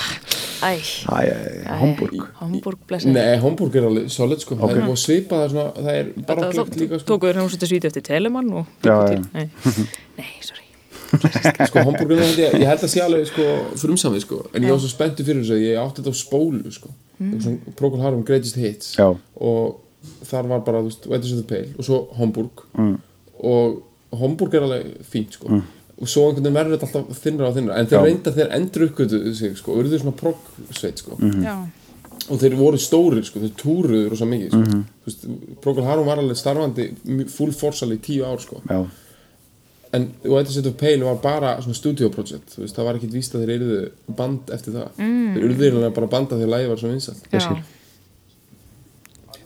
E: Æ,
C: Æ, æ,
E: æ,
C: Homburg
E: Hamburg, blessið
D: Nei, Homburg er alveg solid sko Það er búið að svipa það er svona, það er barokklegt líka sko
E: tókuður hann svolítið svítið eftir Telemann og
C: Já, já.
E: byggu til.
C: (laughs)
E: Nei, nei sorry
D: Sko, Homburg er það, ég held að sé alveg sko frumsamið sko En ég var svo spenntu fyrir þessu að ég átti þetta á spólu sko mm. Svona Procol Harum Greatest Hits
C: Já.
D: Og þar var bara, þú veist, White is the Pale Og svo Homburg mm. Og Homburg er alveg fínt sko Og svo einhvern veginn verður þetta alltaf þinnra og þinnra En þeir reynda þeir endurukkuðu sig sko Og urðu svona proggsveit sko
C: Mm.
E: já,
D: og þeir voru stórir sko, þeir túruðu rosa mikið sko. þú veist, Procol Harum var alveg starfandi mj- full force alveg í tíu ár sko.
C: Já,
D: en White Set of Pale var bara svona studio project, þú veist, það var ekkit víst að þeir eruðu band eftir það mm. þeir eruðu eiginlega bara band að þeir lægi var svo vinsalt
E: já,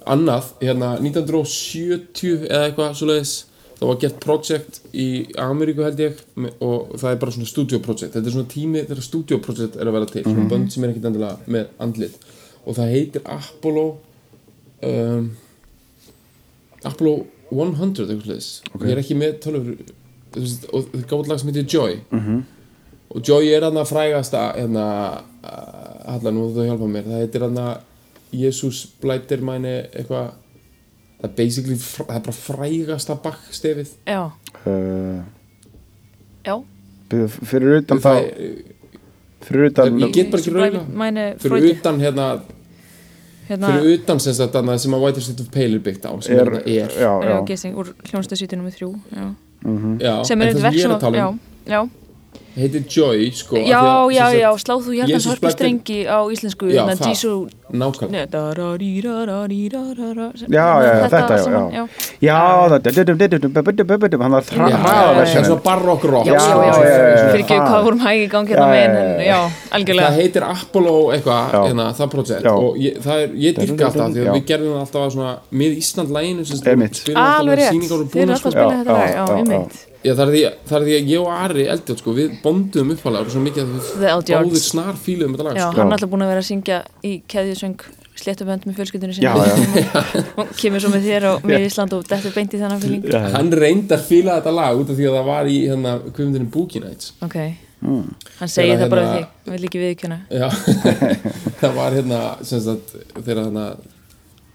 D: annað, hérna 1970 eða eitthvað svoleiðis það var gert project í Ameríku held ég me- og það er bara svona studio project þetta er svona tími þegar studio project er að vera til svona bönd sem er ekkit endilega með andlit og það heitir Apollo um, Apollo 100 eitthvað svoleiðis ég er ekki með tölur og það gáði lag sem heitir Joy og Joy er hann að frægasta hérna uh, Halla, nú þú að hjálpa mér það heitir hann að Jesus blætir mæni eitthvað það er basically, fr- það er bara frægasta bakkstefið
E: já,
C: uh,
E: já.
C: byrju, fyrir utan þá
D: það,
C: fyrir utan,
D: ég get bara ekki raula
E: mæni
D: fyrir
E: Freudi
D: utan hérna
E: hérna,
D: fyrir utan sem sagt þarna sem að White House of Pale er byggt á sem
C: er,
D: er, er.
C: já,
E: já,
C: já,
E: Gissing úr hljónsta svítið nummið þrjú já.
D: Já,
E: sem
D: en
E: er
D: það sem ég er
E: eitt
D: að
E: verksum
D: tala um
E: já, já,
D: heitir Joy sko, af því að-
E: já, já,
D: sem sagt-
E: já, sláð þú hjartans
D: Jesus
E: harpi
D: plagg er-
E: strengi á íslensku
D: Já,
E: þannig að
D: það.
E: Jísú
D: nákvæmlega
E: Nei, dararírararírarara-
C: já, já, já, þetta, já,
E: saman,
C: já. Já, það hann var
D: Já, já, já,
C: hraðaversin
D: það er svona barokkrok
E: Já, já, já,
C: já, já, já.
E: fyrir ekki hvað vorum hæg í gangi þarna
C: Já, já, já,
E: megin, en
C: já.
E: já,
D: það
E: algjörlega
D: heitir Apollo eitthvað
C: Já.
D: hérna, það projekt
C: Já.
D: og ég, það er, ég dyrka alltaf því
C: Já.
D: að við gerðum það alltaf að svona með Ísland læginu sem
C: Einmitt.
E: Alveg rétt, þið eru alltaf
D: sko.
E: að spila
C: Já,
E: þetta lag,
C: já,
E: já,
C: já,
E: einmitt
D: Já, það, er því, það er því að ég og Ari Eldjátt sko, við bondum uppalega svo mikið að
E: The
D: við
E: Eldjárns.
D: báðir snar fíluðum þetta lag
E: Já,
D: sko.
E: hann er alltaf búin að vera að syngja í keðjusöng sléttubönd með fjölskyldunni sinni
C: Já, já.
E: (laughs) og kemur svo með þér á mið Ísland og dettur beint í þennan fylling
C: Já.
D: hann reyndar fíla þetta lag út af því að það var í hérna, kvöfundinu Boogie Nights
E: ok, hann segir
D: Þegar
E: það bara við
D: hérna-
E: þig, hann vil ekki viðkjöna
D: Já, (laughs) það var hérna sem sagt, þegar hann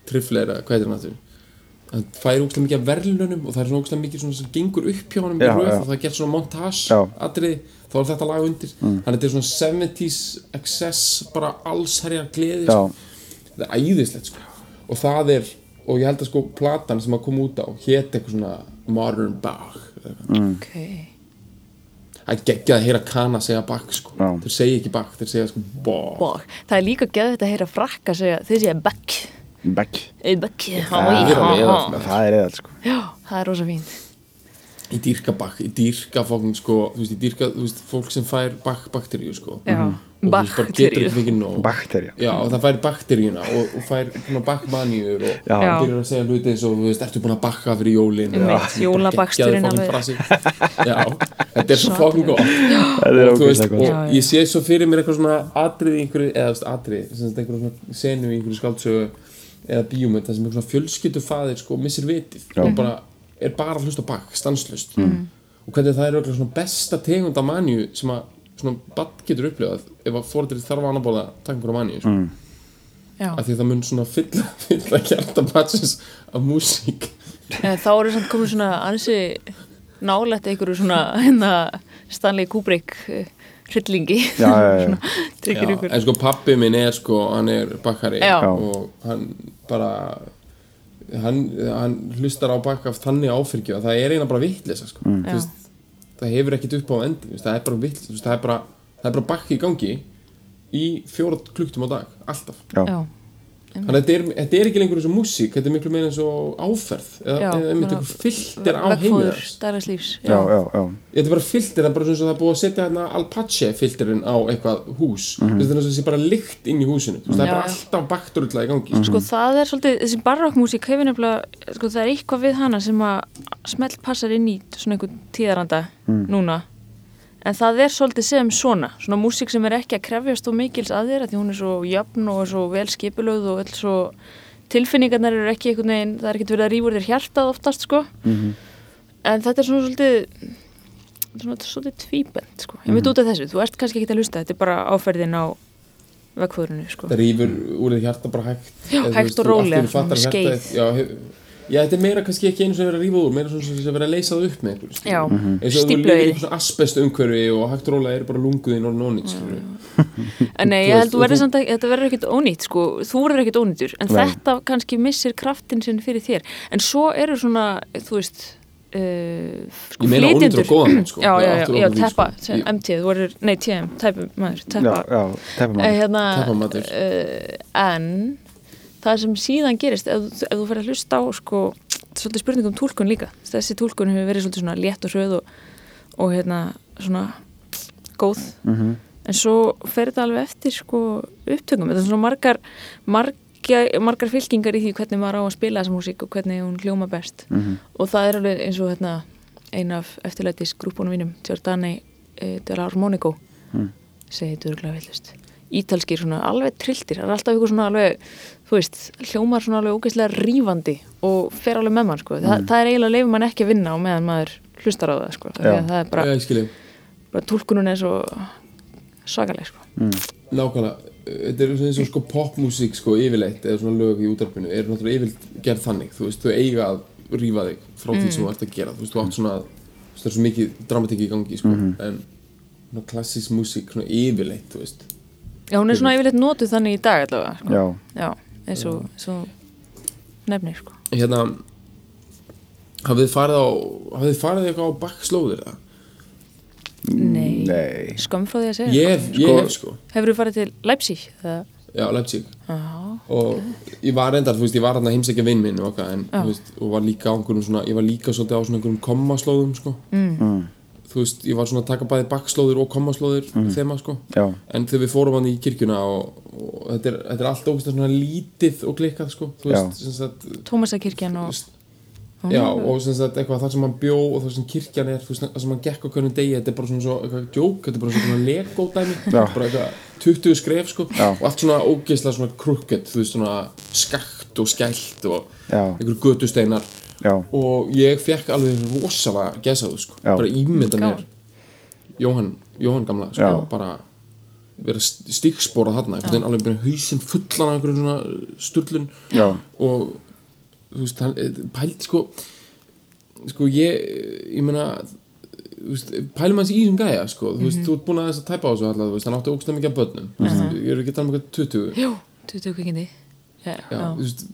D: trifleira, hvað heitir hann aftur hann fær ógstlega mikið af verðlunum og það er svona ógstlega mikið svona sem gengur upp hjá honum í
C: Já,
D: röð
C: já.
D: og það er gert svona montage
C: Já. Mm.
D: atrið, þá er þetta lag undir hann er til svona 70s excess bara allsherjar gleði
C: Já.
D: sko. það er æðislegt sko. og það er, og ég held að sko platan sem að koma út á, hét eitthvað svona Modern Bach eða
C: Mm.
D: eitthvað.
E: ok,
D: það er geggjað að heyra Kana segja Bach sko,
C: Já.
D: þeir segja ekki Bach, þeir segja sko Bach
E: og það er líka geðvægt að heyra frakka segja, þið segja bekk
C: Bekk,
E: ei bekk, já,
D: það er alveg
E: já,
D: eðalegt,
E: já.
D: maður.
C: það er eða sko
E: já, það er rosa fínt
D: Ég dýrka bakk, ég dýrka fólkin sko, þú veist, ég dýrka, þú veist, fólk sem fær bakk bakteríu sko
E: Já.
D: Og þú veist, bara getur
E: Bakteríu.
D: ekki mikið nóg
C: Bakterja
D: Já, og það fær bakteríuna og, og fær svona bakkmaníur og
C: Já.
E: Já.
D: byrjar að segja hluti eins og, þú veist, ertu búin að bakka fyrir jólin
E: Einmitt, jólabaksturinn alveg.
D: alveg Já, þetta er svo fólkin gott
C: Það er
D: og, þú veist,
C: ógeðslega
D: og
C: gott
E: Já, já.
D: ég sé svo fyrir mér eitthvað svona atrið í einhverju, eða þú veist, atrið sem þetta einhverju svona senu í einhverju skáldsögu eða bíómynd, það sem einhverju svona fjölskyldufaðir sko, missir vitið og bara er bara að hlusta á bakk, stanslust og hvernig það er eitthvað svona besta tegund af manju sem að svona badd getur upplifað ef að fóreldur þarf að anabóla taka einhverju manju sko.
E: já.
D: af því að það mun svona fylla, (laughs) fylla hjarta badsins af músík
E: Eh, þá eru samt komin svona ansi nálætt einhverju svona hérna, Stanley Kubrick eh, hryllingi
C: Já, já,
E: (laughs)
C: já.
E: tryggir ykkur
D: en sko pappi minn er sko, hann er bakkari
E: Já. Já.
D: og hann bara hann, hann hlustar á bakka af þannig áfyrgju að það er eina bara vitleisa sko. mm.
E: Já.
D: veist, það hefur ekkit upp á endi veist, það er bara vitleisa, veist, það er bara það er bara bakki í gangi í fjóra klukktum á dag, alltaf
E: já,
D: þannig að þetta er, þetta er ekki lengur eins og músík, þetta er miklu meira eins og áferð eða,
E: Já,
D: eða einmitt
E: bara-
D: einhver fyllt er á heimið
E: vegfóður
D: þess
E: daglegs lífs
C: Já, já, já
D: Þetta er bara filter, það er bara svona eins og það er búið að setja hérna Alpache filterinn á eitthvað hús mm -hmm. Þetta er svona sem bara lykt inn í húsinu mm Það er
E: Mhm. Já,
D: bara
E: já.
D: alltaf bakturullega í gangi mm
E: sko það er svolítið, þessi barokkmúsík hefur nefnilega, sko það er eitthvað við hana sem að smelt passar inn í svona einhvern tíðaranda núna en það er svolítið sem svona svona músík sem er ekki að krefjast og mikils að þér af því hún er svo jafn og er svo vel skipulöð og öll svo tilfinningarnar eru ekki einhvern veginn, það er ekkert verið að rífur þér hjartað oftast sko en þetta er svona svolítið svona, svolítið tvíbent sko ég veit út af þessu, þú ert kannski ekki að hlusta þetta er bara áferðin á vegfóðrunu sko.
D: Það rýfur úr því hjarta bara hægt
E: Já,
D: Eða þú
E: hægt
D: veist,
E: og
D: þú allt í einu
E: rólega,
D: fattar
E: svona
D: hjartað-
E: skeið.
D: Já, hef- já, þetta er meira kannski ekki einu sem er verið að rífa úr Meira svona sem er verið að leysa það upp með einhverju skilur.
E: Já,
D: Eins og þú
E: stífla
D: lifir í
E: í því.
D: einhvern asbest umhverfi og hægt og rólega er bara lunguðin og nónið skilur.
E: En nei,
D: Þú
E: ég
D: veist,
E: held þú
D: og
E: verður
D: þú-
E: samt að þetta verður ekkit ónýtt sko, þú verður ekkit ónýttur en
C: Nei.
E: þetta kannski missir kraftin sinn fyrir þér en svo eru svona, þú veist uh, sko,
D: Ég meina ónýttur
E: flytjendur
D: á góðan hátt, sko.
E: Já, já,
D: Aftur okkur
E: já, já,
D: því,
E: teppa,
D: sko.
E: sem
D: Ég-
E: MT, þú verður, nei, TM tæpum maður,
C: Já,
E: teppa
C: já, teppa
E: Eh,
C: maður
E: hérna,
D: Teppamatur.
E: eh, en það sem síðan gerist ef, þú- ef þú fer að hlusta á sko, svolítið spurning um túlkun líka þessi túlkun hefur verið svolítið svona létt og hröð og, og hérna svona góð
D: Mhm.
E: en svo fer þetta alveg eftir sko, upptökum, þetta er svona margar margar, margar fylkingar í því hvernig maður á að spila þessa músík og hvernig hún hljóma best og það er alveg eins og hérna, ein af eftirlætis grúpunum mínum Giordani uh, Dell'Armonico segi þetta örgulega villust ítalskir svona alveg trilltir það er alltaf ykkur svona alveg, þú veist hljómar svona alveg ógeðslega rífandi og fer alveg með mann, sko Þa, það er eiginlega leifir mann ekki að vinna á meðan maður hlustar á það, sko, Af því að
C: Já.
E: það er
D: Já,
E: bara,
D: ég skilji
E: bara tólkunun er svo svakaleg, sko
D: Nákvæmlega, þetta er eins og sko popmusík sko yfirleitt eða svona lög í útarpinu er náttúrulega yfirleitt gerð þannig þú veist, þau eiga að rífa þig frá því sem þú ert að gera þú veist, þú átt svona þú veist, það er svo mikið dramatík í gangi sko en svona klassísk músík svona yfirleitt, þú veist
E: já, hún er svona yfirleitt notuð þannig í dag allavega, sko
C: Já,
E: eins og svo nefnir, sko
D: hérna hafið þið farið á hafið þið farið eitthvað á bakslóðir það
E: Nei,
C: Nei.
E: skömm frá því að segja
D: Ég hef, ég hef sko
E: Hefur þú farið til Leipzig? Það,
D: Já, Leipzig
E: já,
D: og ég var reyndar, þú veist, ég var hérna heimsækja vinn minn og, okkar, en,
E: Já.
D: þú veist, og var líka á einhverjum svona, ég var líka svolítið á svona einhverjum kommaslóðum sko. mm. þú veist, ég var svona að taka bæði bakslóður og kommaslóður þema sko
C: Mm. Já.
D: en þegar við fórum hann í kirkjuna og, og þetta, er, þetta er allt ógæslega svona lítið og klikkað sko, þú
C: Já.
D: veist, sem sagt
E: Tómasakirkjan og
D: St- Já, og sem sagt eitthvað þar sem hann bjó og þar sem kirkjan er, þú veist, þar sem hann gekk á hvernig degi, þetta er bara svona svo, eitthvað djók, þetta er bara svona lego dæmi,
C: Já.
D: bara eitthvað 20 skref, sko,
C: Já.
D: og allt svona ógeðslega svona krukket, þú veist, svona skakt og skælt og
C: Já.
D: einhverju götusteinar
C: Já.
D: og ég fekk alveg rosalega gesaðu, sko,
C: Já.
D: bara ímynda mér
E: Gaman.
D: Jóhann, Jóhann gamla, sko,
C: Já.
D: bara vera stíksporað þarna, einhvern veginn alveg bara hausinn fullan af einhverjum svona sturlun
C: Já.
D: og þú veist, hann, eh, pælt sko sko ég ég meina þú veist, pælum hans í þessum gæja sko, þú veist, þú ert búin að þess að tæpa á þessu allavega, þú veist, hann átti ógstlega mikið af börnum mm -hmm. ég er ekki að tala um eitthvað 20
E: Jú, 20 kvikindi Já,
D: já,
E: já.
D: þú veist,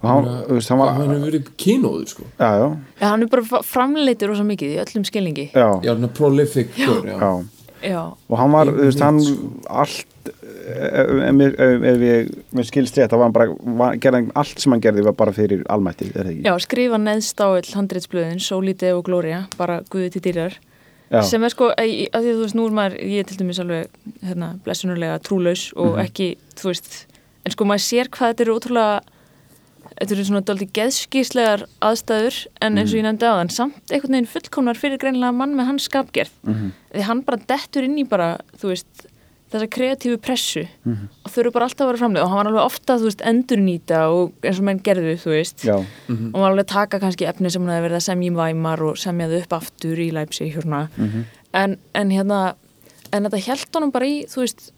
C: Og hann, þú veist, hann var
D: hann hefur verið kynóður sko
C: Já, já,
E: Já, hann er bara framleitur rosa mikið í öllum skilningi
C: já,
D: já, hann er prolific já, já.
C: já.
E: Já,
C: Og hann var,
D: Ég
C: þú veist, hann
D: veit,
C: allt eh, ef, ef, ef, ef ég mér skilst rétt, þá var hann bara var, gerði, allt sem hann gerði var bara fyrir almætti, er það ekki?
E: já skrifa neðst á öll handreitsblöðin, Sólíti og Glória bara guði til dýrar
C: Já.
E: sem er sko, að, að því að þú veist, nú er maður ég er til dæmis alveg, hérna, blessunulega trúlaus og
C: Mhm.
E: ekki, þú veist en sko maður sér hvað þetta eru ótrúlega þetta eru svona daldi geðskíslegar aðstæður, en
C: Mhm.
E: eins og ég nefndi á þann samt einhvern veginn fullkomnar fyrir greinlega mann með hans skapgerð,
C: Mhm.
E: því hann bara dettur inn í bara, þú veist þessa kreatífu pressu
C: Mhm.
E: og þau eru bara alltaf að vera framlega og hann var alveg ofta, þú veist, endurnýta og eins og menn gerðu, þú veist
C: Já,
E: og maður alveg taka kannski efni sem hún hefði verið að semja í væmar og semja þau upp aftur í læpsi hjórna
C: Mhm.
E: en, en hérna en þetta held honum bara í þú veist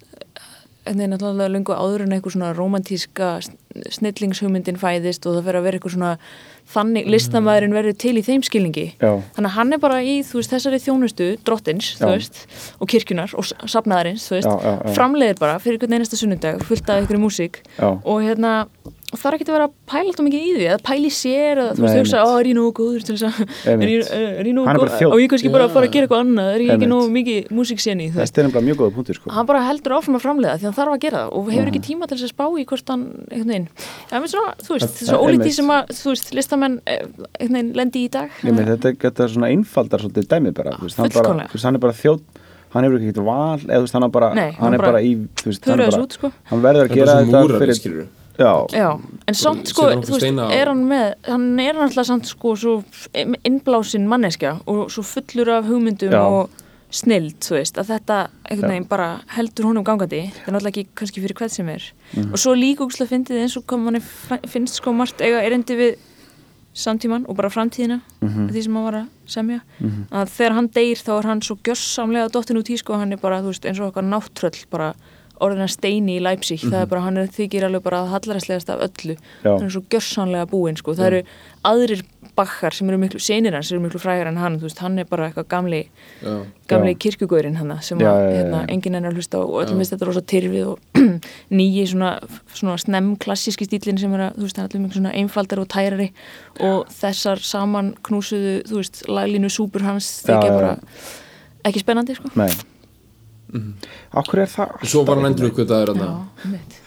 E: en það er náttúrulega lungu áður en eitthvað svona romantíska sn- snillingshugmyndin fæðist og það fer að vera eitthvað svona þannig listamæðurinn verður til í þeim skilningi
C: Mhm. Já.
E: þannig að hann er bara í þú veist þessari þjónustu drottins þú
C: Já.
E: veist og kirkjunar og s- safnaðarins þú veist
C: Já, já, já.
E: framleiðir bara fyrir einhvern einasta sunnudag fullt af einhverju músík
C: Já.
E: og hérna og það er ekki að vera að pæla alltaf mikið í því eða pæla í sér eða þú veist
C: Nei,
E: hugsa,
C: einmitt.
E: ó, er ég nógu góður til þess að er ég, er ég nógu
C: Hann er bara
E: góð-
C: þjónn.
E: og ég kannski bara
D: Já.
E: að fara að gera eitthvað annað er ég ekki
C: Einmitt.
E: nógu mikið músíksenni þú veist
C: þetta er nefnilega mjög góða punktur, sko.
E: hann bara heldur áfram að framlega því hann þarf að gera það og
C: Mm.
E: hefur ekki tíma til þess að spá í hvort hann einhvern veginn, ja, menn svona, þú veist,
C: Það
E: þessu
C: er
E: ólítið
C: einmitt.
E: sem að, þú veist, listamenn eh, einhvern veginn lendi í í dag
C: Ég með þetta, þetta er svona einfaldar svolítið dæmi bara, þú veist, hann bara,
E: Fullkomlega.
C: þú veist, hann er bara þjóð, hann hefur ekki eitthvað val, eða þú veist, hann er bara,
E: Nei,
C: hann er bara í, þú veist, hann er
E: Þurraðis
C: bara,
E: út, sko.
C: hann verður að
D: Það er
C: gera
D: bara svona
C: þetta
D: múrari,
C: fyrir,
D: skilurðu.
C: já,
E: Já, en samt sko,
D: setur hann okkur
E: þú veist,
D: steina á-
E: er hann með, hann er náttúrulega samt sko svo innblásin manneskja og svo fullur af hugmyndum
C: Já.
E: og snild, þú veist, að þetta einhvern
C: Já.
E: veginn bara heldur honum gangandi, það er náttúrulega ekki kannski fyrir hvað sem er. Og svo líka úkslega fyndið eins og hvað manni fa- finnst sko margt eiga erindi við samtíman og bara framtíðina,
C: Mhm.
E: því sem hann var að semja, að þegar hann deyr þá er hann svo gjörsamlega dottin út í sko, hann er bara, þú veist, eins og okkar nátttröll bara orðin að steini í Leipzig, það er bara, hann er þykir alveg bara að hallaræslegast af öllu,
C: Mhm. Já.
E: hann er svo gjörsamlega búinn sko, það eru aðrir bakkar sem eru miklu, senir hans eru miklu frægar en hann, þú veist, hann er bara eitthvað gamli
D: Já.
E: gamli
C: Já.
E: kirkjugurinn hann sem
C: Já,
E: að
C: já, já,
E: hérna,
C: já.
E: enginn enn að hlusta á og öllum veist þetta rosa tyrfið og (clears throat) nýji svona, svona snemm klassíski stílinn sem er að, þú veist, hann er allir mjög svona einfaldar og tærari og þessar saman knúsuðu, þú veist, laglínu súpur hans
C: Já,
E: þykja
C: já,
E: bara
C: já.
E: ekki spennandi, sko
C: nei, okkur er það
D: Mhm. svo var hann endur ykkur dagur
E: Já, einmitt.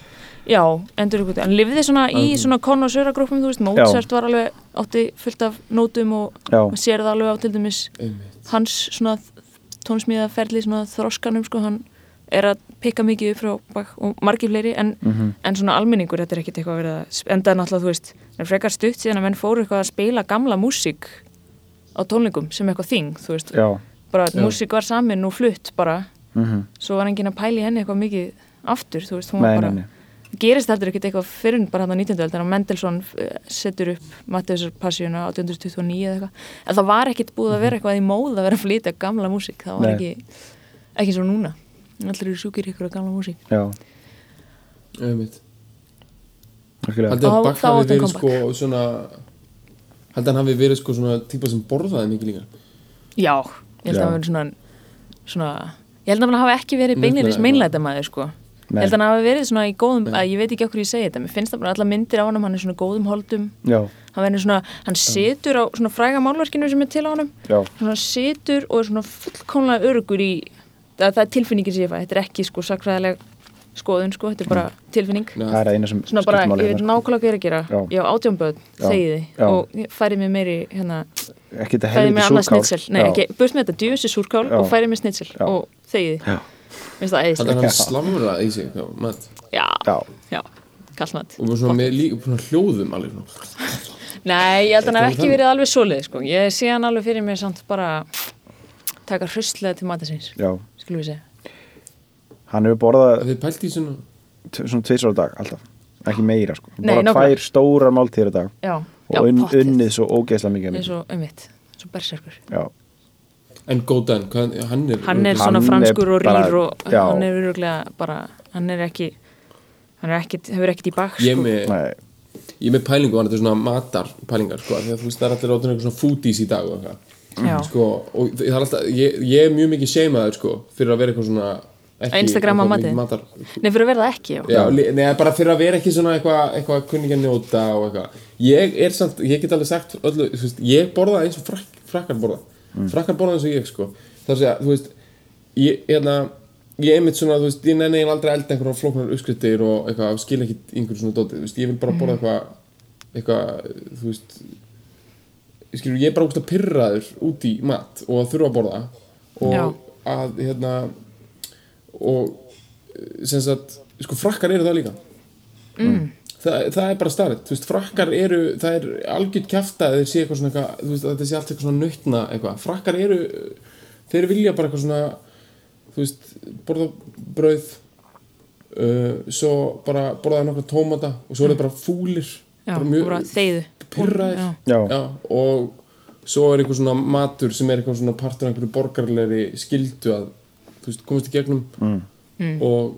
E: Já, endur ykkur hann lifði svona í svona konnosöra grúppum, þú veist, Mozart var alveg átti fullt af nótum og
C: Já.
E: maður sér það alveg á til dæmis hans svona tónsmíðaferli svona þroskanum, sko, hann er að pikka mikið upp frá bak og margir fleiri en, en svona almenningur, þetta er ekkit eitthvað að vera að sp- enda náttúrulega, þú veist, það er frekar stutt síðan að menn fóru eitthvað að spila gamla músík á tónlingum sem eitthvað þing, þú veist,
C: já, Mhm.
E: bara að músík var samin og flutt bara svo var enginn að pæla í henni eitthvað mikið aftur, þú veist, hún
C: Nei,
E: var bara
C: nei, nei.
E: gerist heldur ekkit eitthvað fyrir hún bara hann á 19. öld, þannig að Mendelssohn eh, setur upp Mattheusar passíuna 1829 eða eitthvað, en það var ekkit búið að vera eitthvað í móð að vera að flytja gamla músík það var
C: Mhm. Nei.
E: ekki, ekki svo núna allir eru sjúkir í ykkur á gamla músík
C: já,
D: einmitt
C: okkur
D: Haldið
E: Þá-
D: að
E: þá
D: Bakk hafi
E: átti hann
D: verið sko svona Haldið hann hafi verið sko svona típa sem borðaði mikið líka
E: já, ég held að
C: Já.
E: hann verið svona, svona ég held að hann hafa ekki verið
D: Meinlega
E: beinirins
D: eitthvað.
E: meinlæta maður sko Ég held að hann hafi verið svona í góðum, að ég veit ekki okkur ég segi þetta, mér finnst það bara allar myndir á honum, hann er svona í góðum holdum,
C: já,
E: hann verður svona, hann situr á svona fræga málverkinu sem er til á honum,
C: já,
E: svona situr og er svona fullkomlega örugur í, það, það er tilfinningin sem ég fæ, þetta er ekki sko sakfræðileg skoðun sko, þetta er bara tilfinning.
C: það er að eina sem
E: Svona bara,
C: skiptir máli
E: ég veit
C: hérna,
E: nákvæmlega hvað ég er að gera,
C: Já.
E: ég á átjónböð,
C: Já.
E: þegiði
C: Já.
E: og færið mér meiri, hérna,
C: sko. ekki þetta
E: færið mér
C: helviti
E: annað
C: súrkál.
E: snitsel, nei
C: Já.
E: ekki, burt með þetta, djúsi súrkál
C: Já.
E: og færið mér snitsel
C: Já.
E: og þegiði,
C: Já.
E: minnst það
D: Þannig
E: eðislega,
D: að hann slamraði í sig já, mat.
E: já,
C: já,
E: já, kallnatt.
D: og svona með líka svona hljóðum alveg svona.
E: Nei, ég held að hann hef
D: Þetta
E: ekki
D: er
E: verið alveg svoleið sko. Ég sé hann alveg fyrir mér samt bara taka hrustlega til matasins
C: já,
E: skulum við segja.
C: hann hefur borðað
D: Að þið pælt í svona
C: t- svona tvisar á dag alltaf, ekki meira sko
E: Nei,
C: bara
E: nákvæmlega.
C: tvær stórar máltíður á dag
E: Já, já,
C: og unn,
E: pottþétt.
C: unnið svo ógeðslega mikið af
E: eins
C: myndum.
E: og einmitt, svo berserkur
C: já,
D: en Godan, hvað, hann er
E: Hann er
D: örugglega-
E: svona
C: er
E: franskur og
C: bara-
E: rýr og
C: já.
E: hann er öruglega bara, hann er ekki hann er ekkit, hefur ekkit í bak
D: ég er
E: sko.
D: með,
C: nei,
D: ég er með pælingu hann er svona matar pælingar sko, af því að þú veist það er allir áttur eitthvað svona foodies í dag og
E: Já.
D: eitthvað sko, og það er alltaf, ég, ég er mjög mikið sheimaður sko, fyrir að vera eitthvað svona ekki,
E: Instagramma
D: eitthvað mikið
E: matinn.
D: matar
E: Nei, fyrir að verða ekki, já,
D: Já, li- nei, bara fyrir að vera ekki svona eitthvað eitthva kunningi að njóta og eitthvað Ég er samt, ég get alveg sagt öllu, þú veist, ég borða eins og frak, frakkar borða Frakkar borða eins og ég, sko Það er að segja, þú veist, ég, hérna, ég einmitt svona, þú veist, ég nenni eiginlega aldrei elda einhverjar flóknar uppskriftir og eitthvað, skil ekki einhverjum svona dótið, þú veist, ég vil bara borða eitthvað, eitthvað, þú veist, skilur, ég er bara úrst að pyrraður út í mat og að þurfa að borða og
E: Já.
D: að, hérna, og eh, sem sagt, sko, frakkar eru það líka
E: Mm.
D: Þa, það er bara starrið, þú veist, frakkar eru það er algjörn kjæft að þeir sé eitthvað svona eitthvað, þú veist, að þeir sé allt eitthvað svona nautna eitthvað, frakkar eru þeir vilja bara eitthvað svona þú veist, borða brauð uh, svo bara borða nokkra tómata og svo eru þeir bara fúlir
E: Mm. já bara þeyðu
D: pyrraðir
E: Já.
C: Já.
D: og svo er eitthvað svona matur sem er eitthvað svona partur af einhverju borgarlegri skildu að þú veist, komast í gegnum mm. og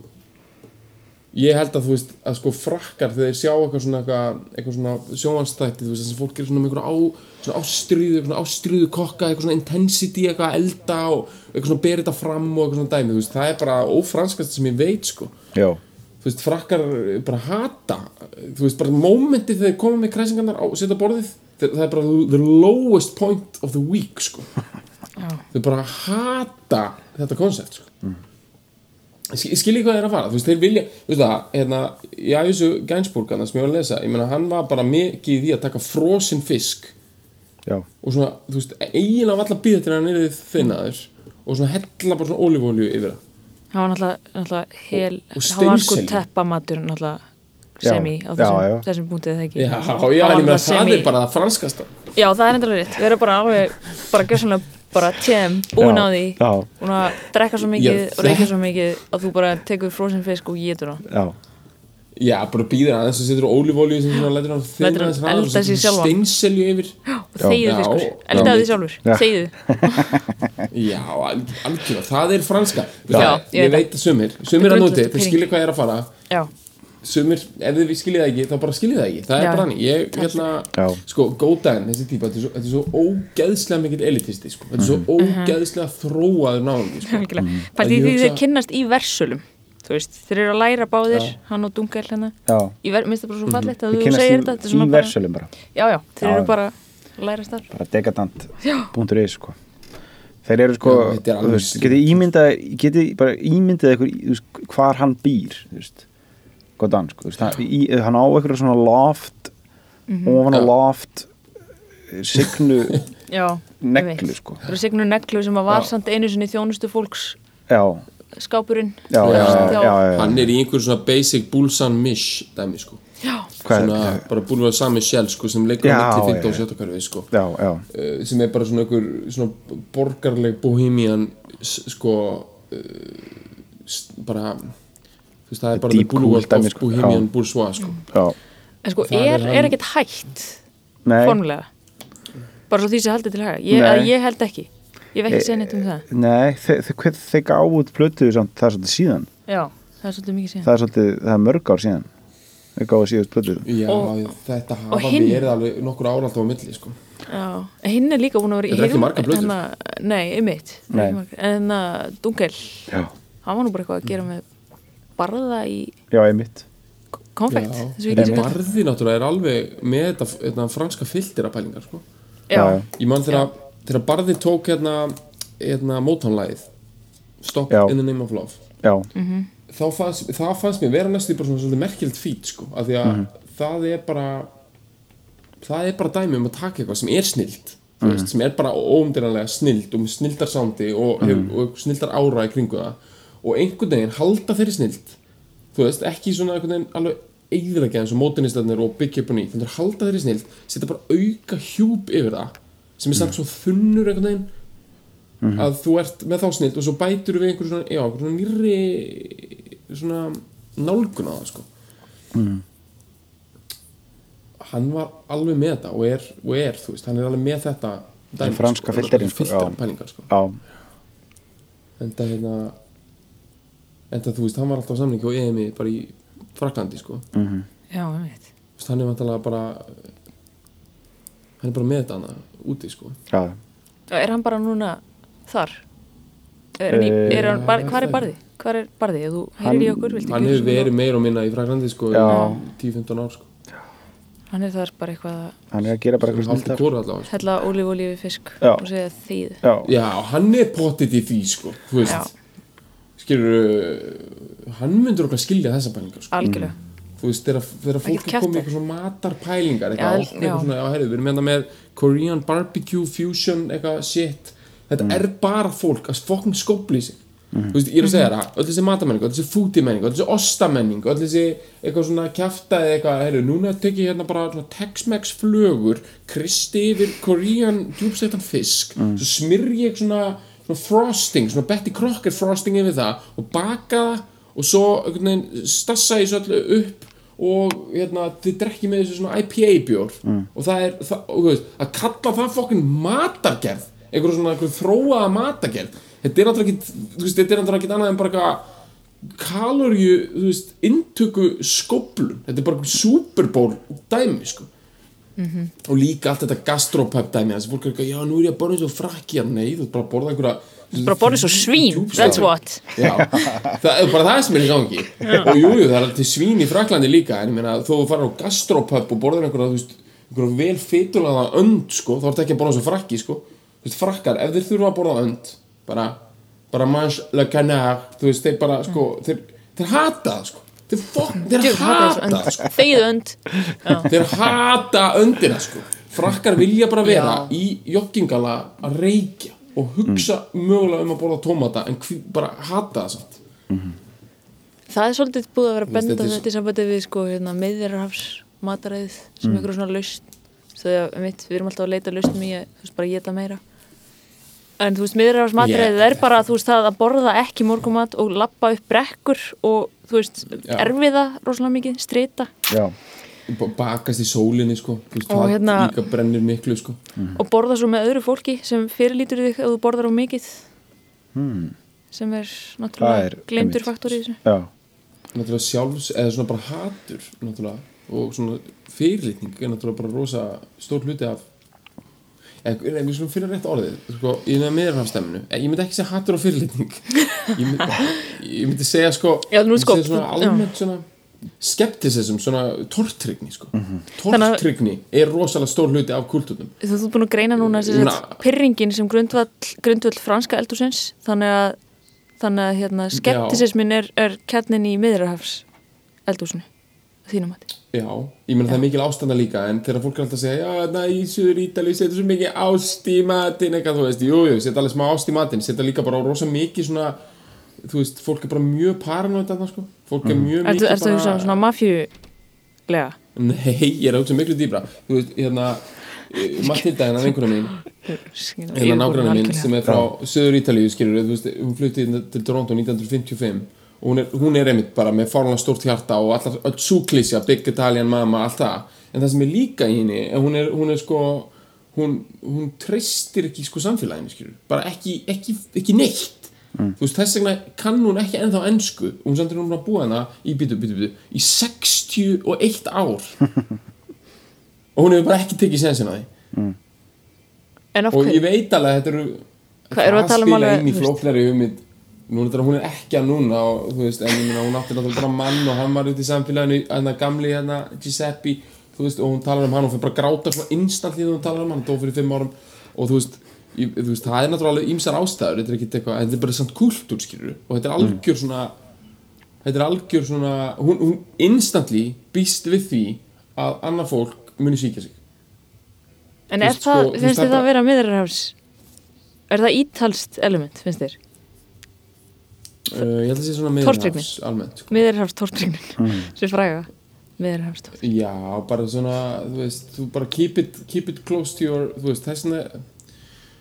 D: ég held að þú veist að sko frakkar þegar þeir sjá eitthvað svona eitthvað, eitthvað svona sjónvanstætti þú veist þess að fólk gerir svona með einhverja á svona ástríðu, eitthvað svona ástríðu kokka eitthvað svona intensity, eitthvað að elda og eitthvað svona berið þetta fram og eitthvað svona dæmi þú veist, það er bara ófranskast sem ég veit sko
C: já,
D: þú veist, frakkar bara hata þú veist, bara momentið þegar þeir koma með kræsingarnar á setja borðið þeir, það er bara the lowest point of the week sko. þeir bara hata þetta koncept sko. mm. skilji hvað þeir eru að fara þú veist, þeir vilja, þú veist það hérna, í æfisu Gænsburgana sem ég var að lesa ég meina, hann var bara mikið í því að taka frosin fisk
C: já,
D: og svona, þú veist, eiginlega var alltaf býða til hann er þið þinnaður og svona hella bara svona ólífólju yfir það
E: Hann var náttúrulega, náttúrulega hel,
D: Og- og
E: hann var sko
D: steinselju.
E: teppamatur náttúrulega
C: Já,
E: semi á
C: já,
E: þessum,
C: já.
E: þessum punktið eða ekki
D: já, já,
E: Hann
D: en
E: var
D: ég meina,
E: náttúrulega
D: það
E: semi-
D: er bara það franskasta
E: Já, það er endur rétt, við erum bara alveg bara gjössanlega bara tjem, búin
C: Já,
E: á því
C: já.
E: búin að drekka svo mikið
D: Já,
E: og reykja svo mikið að þú bara tekur frozen fisk og getur hann
C: já
D: Já, bara býðir aðeins og setur ólífólíu sem svona lætur hann þinn
E: Lætur hann elda sig sjálfan.
D: Steinselju
E: (gasps)
D: yfir
E: og þegiðu
D: Já,
E: fiskur,
D: já.
E: eldaðu því sjálfur
C: (laughs)
E: þegiðu,
D: Já, al- algjörlega, það er franska
E: Já,
D: það,
E: ég
D: Ég
E: veit
D: veit að sumir, sumir að
E: Grundvöllur
D: nóti Þeir
E: pæling.
D: skilja hvað er að fara
E: já,
D: Sumir, ef þið skiljið það ekki, þá bara skiljið það ekki Það er
E: Já.
D: bara hann, ég, hérna
C: Já.
D: Sko, Godan, þessi típa, þetta er svo, þetta er svo ógeðslega mikill elitisti, sko Þetta er
C: Mhm.
D: svo
E: Mhm.
D: ógeðslega þróaður náðungi, sko
C: Mm.
E: helgilega Fætti
D: Ég
E: því
D: hugsa-
E: þeir kynnast í versölum þú veist, þeir eru að læra báðir hann og dunga hérna
C: Já.
E: Í ver- minnst það bara svo fallegt að
C: Þið
E: þú
C: kynnast
E: segir
C: í-
E: þetta þetta er
C: í
E: svona bara-
C: versölum bara,
E: Já, já, þeir
C: Já,
E: eru
C: já.
E: bara að læra starf
C: bara degadant.is sko. þeir eru sko
D: Já, þetta er alveg
C: þú veist,
D: stúkt.
C: getið ímyndað getið bara ímyndað ykkur í- þú veist, hvar hann býr þú veist, godan sko, þú veist, hann, í, hann á ykkur svona loft
E: Mhm.
C: ofan á
D: Já.
C: loft eh, signu
D: (laughs)
E: Já, ég
C: Neglu,
E: veit.
C: sko.
E: Það eru signu neglu sem að var
D: Já.
E: samt einu sinni þjónustu fólks
C: já,
E: skápurinn
C: já, já,
E: Efst
C: já,
E: hjá-
C: já, já.
D: Hann er í einhverjum svona basic Bulsan Mish dæmi, sko
C: Hvað,
D: Svona, bara búin að sami sjálf, sko, sem leikur
C: Já,
D: á milli 15 og
C: já.
D: 17 hverfið, sko
C: já, já,
D: Eh, sem er bara svona einhver svona borgarleg bohemian s- sko uh, bara þú veist það er bara
C: Deep
D: the bulwark
C: cool dæmi,
D: of
C: sko.
D: bohemian
C: Já.
D: bourgeois sko
E: Mm.
C: já.
E: En sko,
D: Það er
E: er,
D: hann-
E: er ekkert hægt
C: Nei,
E: formulega bara svo því sem haldið til haga ég,
C: Nei.
E: að ég held ekki, ég hef ekki segið neitt um það
C: nei, þe- þe- hver- þeir gáðu út plötu samt, það er svolítið síðan
E: já, það er svolítið mikið síðan
C: það er svolítið, það er mörg ár síðan þeir gáðu síðust plötu
D: já
E: Og-
D: þetta hafa
E: og hinn-
D: verið alveg nokkur ára alltaf á milli sko
E: já. En hinn er líka búin að vera í
D: Þetta er ekki
E: hirð-
D: margar plötur.
E: hérna- nei, um mitt
C: Nei.
E: en uh, Dungel,
C: já,
E: hann var nú bara eitthvað að gera með barða í
C: já, einmitt
D: Já.
E: konfekt eins og ég
D: En
E: get sagt.
D: barði náttúrulega er alveg með þetta, þetta franska filtera pælingar sko.
E: Já,
C: Já, já.
D: Ég man þegar, þegar barði tók hérna, hérna mótánlægið Stop
C: Já.
D: in the name of love
C: já,
E: Mhm.
D: þá fannst, það fannst mér vera næstu bara svona svolítið merkjöld fít sko, af því að það er bara það er bara dæmi um að taka eitthvað sem er snilt mm veist, sem er bara óumdýranlega snilt og með snildar sándi og, mm og snildar ára í kringu það og einhvern veginn halda þeirri snilt þú veist, ekki svona einhvern veginn alveg eigðilega eins og mótinistarnir og byggja upp og ný þannig að halda þeirri snilt, setja bara auka hjúp yfir það, sem er samt svo þunnur einhvern veginn
C: Mhm.
D: að þú ert með þá snilt og svo bætur við einhver svona, já, einhver svona nýrri svona nálgun á það sko
C: Mhm.
D: hann var alveg með þetta og er, og er þú veist, hann er alveg með þetta dæmi,
C: franska filterinn, sko,
D: filtera
C: já.
D: pælingar sko
C: já,
D: en það hérna en það þú veist, hann var alltaf á samlingi og EMI bara í Fraklandi sko
C: Mhm.
D: mm.
E: já, ég veit
D: hann er vantalega bara hann er bara með þetta hann úti sko
C: já.
E: Og er hann bara núna þar? Er, hann í, er hann, bar, hvar er barði? Hvar er barði? Ef þú heyrir í okkur, viltu
D: Eh, hann hefur verið meira og minna í Fraklandi sko í
C: Já.
D: 10-15 ár sko
E: Hann er þar bara eitthvað að
C: hann er að gera bara eitthvað
D: Haldur
C: snildar
D: Kóra allavega sko.
E: hella ólífólífi fisk
C: Já.
E: og segja þýð
C: já,
D: Já, hann er pottit í því sko Þú
E: Já.
D: veist, skilur Hann myndur okkar skilja þessa pælingar sko.
E: algjörlega
D: Þú veist, þegar, þegar fólk
E: Ekkert
D: er komið
E: kjafta.
D: eitthvað svona matar pælingar
E: Já,
D: Eitthvað, já,
E: já.
D: eitthvað svona, já, herri, við erum hérna með Korean barbecue fusion Eitthvað shit Þetta er bara fólk að fokkin skópli sig Þú veist, ég er að
E: Mm.
D: segja það, öll þessi matamenning, öll þessi fútimenning, öll þessi ostamenning, öll þessi eitthvað svona kjaftaði eitthvað, heyrðu, núna tek ég hérna bara svona Tex-Mex flögur, kristi yfir korean djúpsettan fisk, svo smyrji ég svona, svona frosting, svona Betty Crocker frosting yfir það og baka það og svo einhvern veginn stassa ég svo öllu upp og hérna, þið drekki með þessu svona IPA bjór og það er, það, og, þú veist, að kalla það fokkin matargerð einhverjum svona einhverjum þróaða matargerð þetta er náttúrulega ekki, þú veist, þetta er náttúrulega ekki annað en bara eitthvað kaloríu, þú veist, inntöku skoblun, þetta er bara einhverjum superból dæmi, sko
E: Mhm.
D: og líka allt þetta gastropub dæmi þessi fólk er eitthvað, já, nú er ég að borða eins og frakki nei, þú ert bara að borða einhverja
E: bara borðið svo svín,
D: Djúpstæði.
E: that's what
D: Já, það er bara það sem er í gangi og jújú, jú, það er til svín í Fraklandi líka en ég meina, þó þú farir á gastropub og borðir einhverja, þú veist, einhverja vel fytulaða önd, sko, þá ertu ekki að borða svo frakki, sko, þú veist, frakkar, ef þeir þurfa að borða önd, bara bara manche le canard, þú veist, þeir bara, sko þeir, þeir hata það, sko þeir, fokk, þeir
E: Djöfull,
D: hata
E: hatar þessu önd.
D: það, sko
E: þeyð önd
D: þeir hata öndina sko frakkar vilja bara vera í joggingala að reykja og hugsa mögulega um að borða tómata en hví, bara hata það samt
E: það er svolítið búið að vera að
D: Veist,
E: benda
D: þetta
E: á
D: er svo-
E: þetta í sambandi við sko, hérna, meðverðarhafs mataræðið sem mm. ykkur svona lausn þegar mitt, við erum alltaf að leita lausnum í að þú veist bara geta meira en þú veist, meðverðarhafs mataræðið
D: Yeah.
E: er bara þú veist það að borða ekki morgumat og lappa upp brekkur og þú veist erfiða rosalega mikið, strita
C: já,
D: Ba- bakast í sólinni sko Þú veist,
E: Og
D: það
E: hérna-
D: líka brennir miklu sko
C: Mm.
E: og borða svo með öðru fólki sem fyrirlítur þig að þú borðar á mikið sem
C: Hmm. það
E: er
C: er
E: náttúrulega glemdur
C: einmitt.
E: faktor í þessu
C: já,
D: náttúrulega sjálfs, eða svona bara hatur náttúrulega, og svona fyrirlitning er náttúrulega bara rosa stór hluti af eða einhvern svona fyrir rétt orðið, sko, ég nefnir meðrafstemminu ég myndi ekki segja hatur og fyrirlitning ég myndi, ég myndi segja sko
E: Já,
D: ég
E: nú
D: myndi
E: sko,
D: segja svona
E: þú- já.
D: almennt svona skeptisism, svona tortrygni sko.
E: Mhm.
D: mm
E: Þannig að-
D: er rosalega stór hluti af kulturnum
E: Þú þú ert búin að greina núna sem sagt,
D: Núna-
E: pyrringin sem grundvöll, grundvöll franska eldúsins þannig að, þannig að hérna, skeptisismin er, er kjarnin í miðrahafs eldúsinu þínum að
D: Já, ég meina það er mikil ástanda líka en þegar fólk er alltaf að segja, já, na, í Suður Ítali setja svo mikið ást í matinn eitthvað, þú veist, jú, jú, setja alveg smá ást í matinn setja líka bara á rosa mikið svona þú veist, fólk er bara mjög paranoid þarna, sko, fólk er mjög
E: Mm. Ertu,
D: mikið
E: ertu að hugsa um svona mafjulega?
D: Nei, ég er að hugsa miklu dýbra þú veist, hérna, eh, Matilda hennar einhverja mín hérna nágrannar minn sem er frá söður Ítalíu skilur, þú veist, hún flutti hérna til Toronto 1955 og hún er, hún er einmitt bara með fárlega stórt hjarta og allar, öll súklísja, Big Italian Mama, allt það en það sem er líka í henni, er- hún er, hún er sko hún, hún treystir ekki sko samfélaginu skilur, bara ekki, ekki, ekki neitt þú veist, þess vegna kann hún ekki ennþá ennsku, hún samt er hún búin að búa hana í bítu, bítu, bítu, í 61 ár og hún hefur bara ekki tekið sensin á því
E: En af
D: og ég
E: hverju?
D: veit alveg að þetta eru
E: Hvað, erum við að tala um
D: spila
E: alveg-
D: inn í
E: þú veist-
D: flóknari hugmynd Núna þetta hún er ekki að núna og, þú veist, en ég meina hún átti náttúrulega bara mann og hann var út í samfélaginu, hann gamli hérna Giuseppe, þú veist, og hún talar um hann og fyrir bara að gráta svona instant því þegar hún talar um hann, hann dó fyrir fimm árum og þú veist, ég, þú veist það er náttúrulega alveg ýmsar ástæður, þetta er ekki eitthvað, en þetta er bara samt kultúr skilur og
E: Mm.
D: þetta er algjör svona þetta er algjör svona, hún, hún instantly býst við því að annað fólk muni síkja sig
E: En
D: Þú
E: er
D: veist,
E: það,
D: sko, þú veist,
E: finnst þið
D: þetta-
E: það að vera miðrarháls? Er það ítalst element, finnst þér?
D: uh, ég held að sé svona
E: Tortryggni.
D: miðjarnarhafs almennt, sko.
E: Miðrarháls tortrygnir, mm. sem fræga Miðrarháls tortrygnir
D: já, bara svona þú veist, þú bara keep it, keep it close to your, þú veist, þessna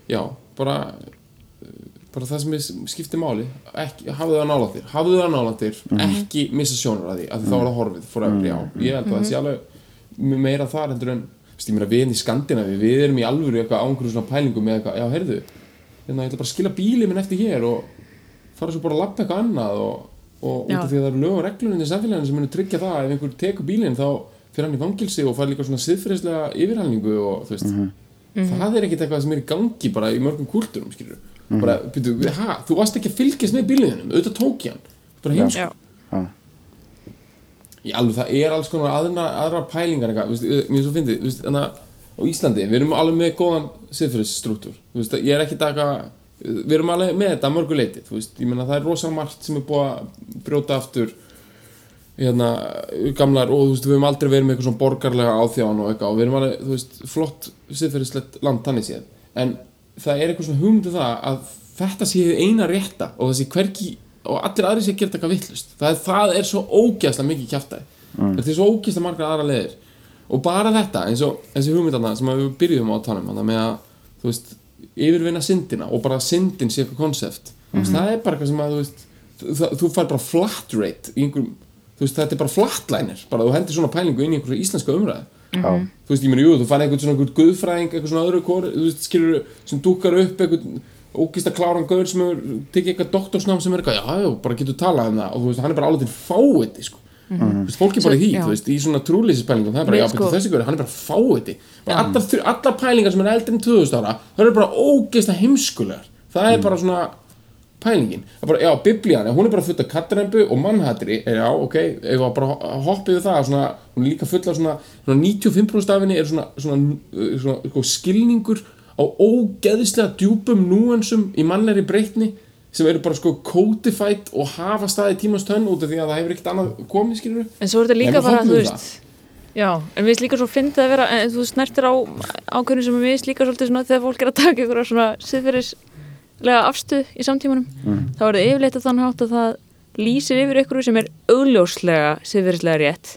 D: já, bara uh, bara það sem er- skiptir máli ekki, hafðu það nála þér, hafðu það nála þér ekki missa sjónur að því, af því þá er það horfið forever, já, ég held að það sé alveg meira þar heldur en, þú veist, ég meira við erum í Skandinavi, við erum í alvöru eitthvað á einhverju svona pælingum með eitthvað, já, heyrðu hérna, ég ætla bara að skila bílið minn eftir hér og fara svo bara að lappa eitthvað annað og, og út
E: Já.
D: af því að það eru lög og reglunum í samfélaginu sem munu tryggja það, ef einhver tekur bílinn þá fyrir hann í fangilsi og fær líka svona siðferðislega yfirhalningu og þú veist
E: Mhm.
D: það er ekkert eitthvað sem er í gangi bara í mörgum kúlturum, skilur bara, byrju, ha, þú varst ekki að fylgjast með bíliðinum auðvitað tók ég hann, bara heimsko
E: Já,
D: Já, alveg, það er alls konar aðra, aðra pælingar eitthvað, veist, eh, mér er svo fyndið, veist, þannig að á Íslandi, við erum alveg með góðan siðferðisstrúktúr, þú veist, ég er ekki taka, við erum alveg með þetta að mörgu leiti, þú veist, ég meina það er rosalega margt sem er búið að brjóta aftur hérna, gamlar og þú veist, við höfum aldrei verið með eitthvað svona borgarlega áþján og eitthvað og við erum alveg, þú veist, flott siðferðislegt land þannig séð, en það er eitthvað svona hugmyndu það að þetta sé hið eina rétta og þessi hvergi og allir aðri sé að gera þetta eitthvað vittlust það, er- það er svo ógeðslega mikið kjaftaði þetta er svo ógeðslega margar aðra leðir og bara þetta, eins og þessi hugmyndarna sem að við byrjum á að tala um hana með að, þú veist, yfirvinna syndina og bara að syndin sé eitthvað konsept mm
E: Mhm.
D: -hmm. það er bara eitthvað sem að, þú veist þú- það- þú fær bara flat rate í einhverjum, þú veist, þetta er bara flatliner bara þú hendir svona pælingu inn í einhverju íslenska umræðu
C: Já.
E: Mhm.
D: þú veist, ég meina, jú, þú fann einhvern svona einhvern guðfræðing, einhvern svona öðru kor, þú veist, skilur sem dúkar upp einhvern ógista kláran gaur sem er, tekið eitthvað doktorsnám sem er eitthvað, já, já, bara getur talað um það og þú veist, hann er bara alveg til fáiði, sko þú veist, fólk er bara í því,
E: Mhm. Svo- já.
D: þú veist, í svona trúlýsispælingum það er bara,
E: Mér
D: já,
E: sko-
D: betur þessi gaur, hann er bara fáiði bara allar, þr- allar pælingar sem er eldri en 2000 ára það eru bara ógista heimskulegar það er bara svona pælingin Það er bara, já, biblían, hún er bara full af kattarembu og mannhatri, er, já, ok ef að bara hoppið við það, svona hún er líka full af svona, svona 95% af henni er svona, svona, uh, svona, svona skilningur á ógeðislega djúpum núansum í mannlegri breytni sem eru bara sko codified og hafa staði tímast tönn út af því að það hefur ekkert annað komið, skilur
E: En svo er þetta
D: Nei,
E: líka
D: við
E: bara,
D: fórum um
E: þú
D: við
E: veist Já, en við líka svo fyndið að vera en þú snertir á ákveðinu sem við líka svolítið svona þegar fólk er að taka ykkur svona siðferðislega afstuð í samtímanum
D: Mm.
E: þá er það yfirleitt að þann hátt að það lýsir yfir ykkur sem er augljóslega siðferðislega rétt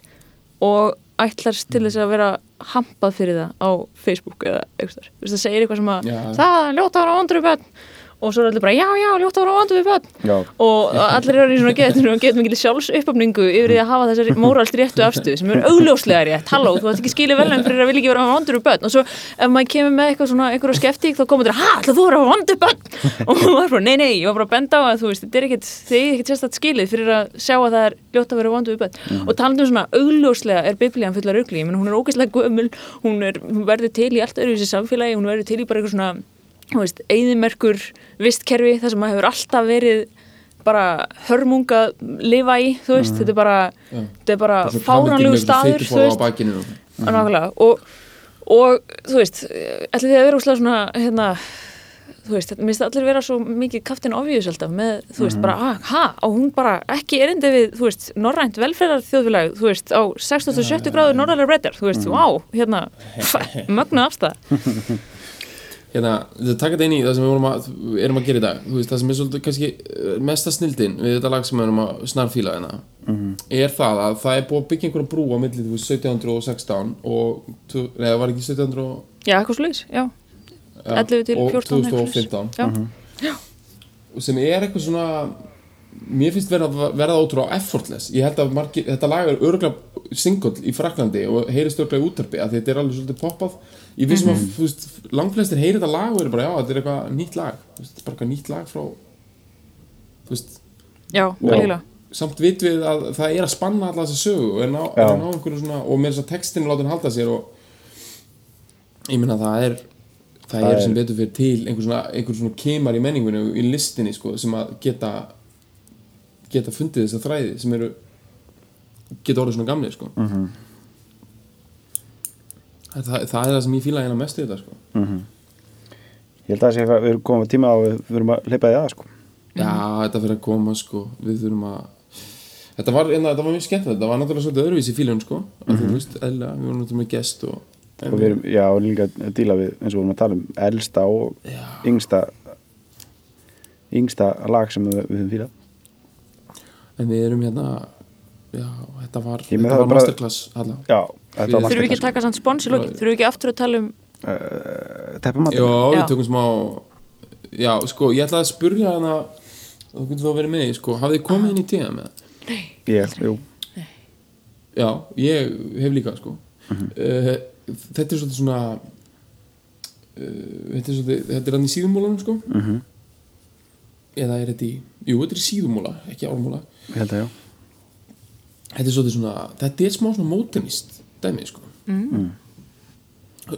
E: og ætlast til þess að vera hampað fyrir það á Facebook eða eitthvað, þú veist það segir eitthvað sem að
D: Já.
E: það, ljóta ára vandur við börn og svo er allir bara, já, já, ljóta ára vandur við börn
C: Já.
E: og allir eru í svona getinu og getum ekki sjálfsuppöfningu yfir því að hafa þessari móralt réttu afstuð sem er augljóslega rétt, halló, þú ætti ekki skilið velum fyrir að vilja ekki vera með vondur um börn og svo ef maður kemur með eitthvað svona, einhverja skeftík þá komur þér, ha, ætla þú að vera með vondur börn (laughs) og maður er bara, nei, nei, ég var bara að benda á að þú veist, þetta er ekkit, þið er ekkit sérstætt skilið fyrir að sjá að það er ljótt að vera vondur um börn og talandi um svona, augljóslega er biblían fullar augli, ég menn hún er ógeðslega gömul hún, er, hún verður til í allt öðruvísi samfélagi hún verður til í bara eitthvað svona þú veist, eigðimerkur vistkerfi það sem maður hefur alltaf verið bara hörmung að lifa í þú veist, þetta er bara, þetta Mm. er bara fáránlegu staður þú veist,
D: veist
E: nákvæmlega og, og þú veist, ætli þið að vera úslega svona hérna, þú veist, þetta minnst allir vera svo mikið kaftin ofjús alltaf með, þú veist, bara, ah, ha, og hún bara ekki erindi við, þú veist, norrænt velferðar þjóðfélag, þú veist, á 67 gráður norrænar breytar, þú veist, vá, hérna (laughs) mögnu afstæð
D: hérna, þetta taka þetta inn í það sem við vorum að, erum að gera í dag þú veist, það sem er svolítið kannski eh, mesta snildin við þetta lag sem við erum að snarfíla hérna
E: Mhm.
D: er það að það er búið að byggja einhverja brú á milli þú veist, 1716 og tvö- nei, það var ekki 1700 og,
E: já, eitthvað sluðis, já,
D: ja,
E: 11 til 14
D: og
E: eitthvað svoleiðis.
D: 2015
E: já,
D: og sem er eitthvað svona mér finnst verða, verða ótrúlega effortless ég held að margir, þetta lag er örgulega single í Fraklandi og heyrist örgulega í útarpi að þetta er alveg svolítið poppað ég vissum mm -hmm. að þú veist, langflestir heyri þetta lag og eru bara já, þetta er eitthvað nýtt lag Þú veist, þetta er bara eitthvað nýtt lag frá þú veist,
E: já, algjörlega
D: samt vitum við að það er að spanna alla þessa sögu og er ná,
C: Já.
D: er að ná einhverju svona og með þess að textinu láta hann halda sér og ég meina það er það, er sem betur fyrir til einhver svona, einhver svona kemar í menningunni og í listinni sko sem að geta geta fundið þessa þræði sem eru geta orðið svona gamli sko. mm -hmm. það, það, það er það sem ég fíla hérna mest í þetta sko.
C: Ég held að það sé að við erum komið tíma að við við erum að leipa því að sko.
D: Já, þetta fyrir að koma sko Við þurfum að Þetta var, einna, þetta var mjög skemmt Þetta var náttúrulega svolítið öðruvísi fílun sko mm -hmm. Þú veist, eðlilega, við vorum náttúrulega með gest og,
C: Mhm. og við erum, já, og líka að díla við eins og við erum að tala um elsta og yngsta yngsta lag sem við, við höfum fýlað
D: En við erum hérna Já, þetta var,
C: Ég með
D: þetta
C: það
D: var
C: bara-
D: masterclass alla.
C: Já, þetta var
D: Þurfum
E: Þurfum við ekki að
C: masterclass.
E: taka samt spons í loki? Þurfum við ekki aftur að tala um
C: Teppamat
D: Já, við
E: Já.
D: tökum smá Já, sko, ég ætlaði að spurja hana Þú getur þá verið með því, sko Hafið þið komið inn í tíða með það?
C: Ég, jú,
D: Já, ég hef líka, sko mm
C: Mhm.
D: Þetta er svolítið svona uh, Þetta er svolítið Þetta er hann í síðumúlanum, sko
C: Mhm.
D: -hmm. Eða er þetta í Jú, þetta er í síðumúla, ekki ármúla
C: ég held að já
D: þetta er svolítið svona þetta er smá svona mótinist dæmi sko mm.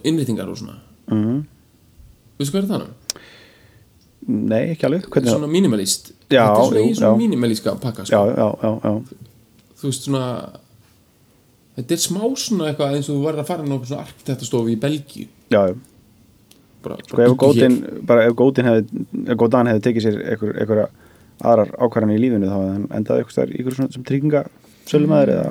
D: innrýtingar og svona mm.
C: Mhm.
D: veistu hvað er það nú?
C: Nei, ekki alveg,
D: Þetta er
C: hvernig það?
D: svona mínimalist
C: Já,
D: þetta er svona
C: jú,
D: í svona
C: já.
D: mínimalíska pakka
C: Já,
D: sko.
C: já, já, já
D: þú veist svona þetta er smá svona eitthvað eins og þú verður að fara inn á einhver svona arkitektastofu í Belgíu
C: Já, já
D: bara,
C: Sko ef
D: byggja
C: gótin,
D: hér.
C: bara ef gótin hefði, ef gótan hefði tekið sér einhver, einhverja aðrar ákvarðan í lífinu þá hefði hann endaði einhver staðar í einhver svona sem trygginga sölumæður eða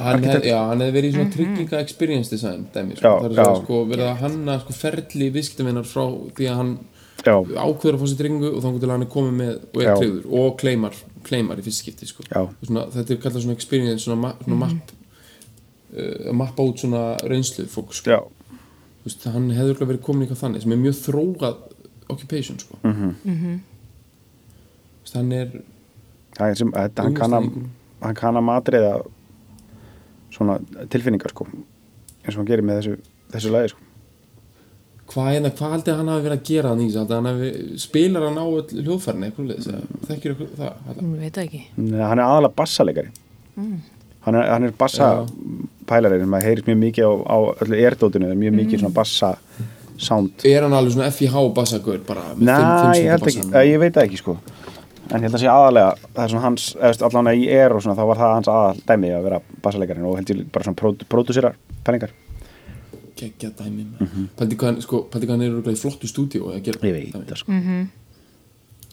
D: hann hefði hef verið í svona trygginga experience design dæmi, sko.
C: Já,
D: það er svona
C: já.
D: sko, verið að hanna sko, ferli viðskiptavinnar frá því að hann
C: Já,
D: ákveður að fá sér tryggingu og þannig til að hann er komið með og er
C: Já.
D: tryggður og kleimar, kleimar í fyrst skipti sko.
C: Já.
D: Og svona, þetta er kallað svona experience svona, ma svona mapp uh, mappa út svona reynslu fólk sko.
C: já,
D: Þú veist, hann hefði örugglega verið komin eitthvað þannig sem er mjög þróað occupation sko. mm
C: Mhm.
D: -hmm. Vist, hann er
C: það er sem, þetta, hann kann að hann kann að matriða svona tilfinningar sko eins og hann gerir með þessu, þessu lagi sko
D: hvað hérna, hvað haldið hann hafi verið að gera þannig að hann hafi, spilar hann á öll hljóðfærin eitthvað leðis, mm. þekkir eitthvað það Halla.
E: Ég veit það ekki
C: Nei, hann er aðalega bassalegari hann, er, hann er bassapælari sem maður heyrist mjög mikið á, á öllu erdótinu, það er mjög mikið svona bassa sound
D: er hann alveg svona FIH bassagur bara með fimm-
C: Nei,
D: fimm
C: ég held ekki,
D: bassann?
C: eh, ég veit það ekki sko En ég held að sé aðalega, það er svona hans, eða allan að ég er og svona, þá var það hans aðal dæmi að vera bassalegarinn og held ég bara svona pró pródúsirar pælingar.
D: geggja dæmi mm -hmm. pældi hvað hann- sko, pældi hvað hann er örugglega í flottu stúdíu að gera
C: Mhm. Ég veit
D: dæmi.
C: það
E: Mm.
C: sko.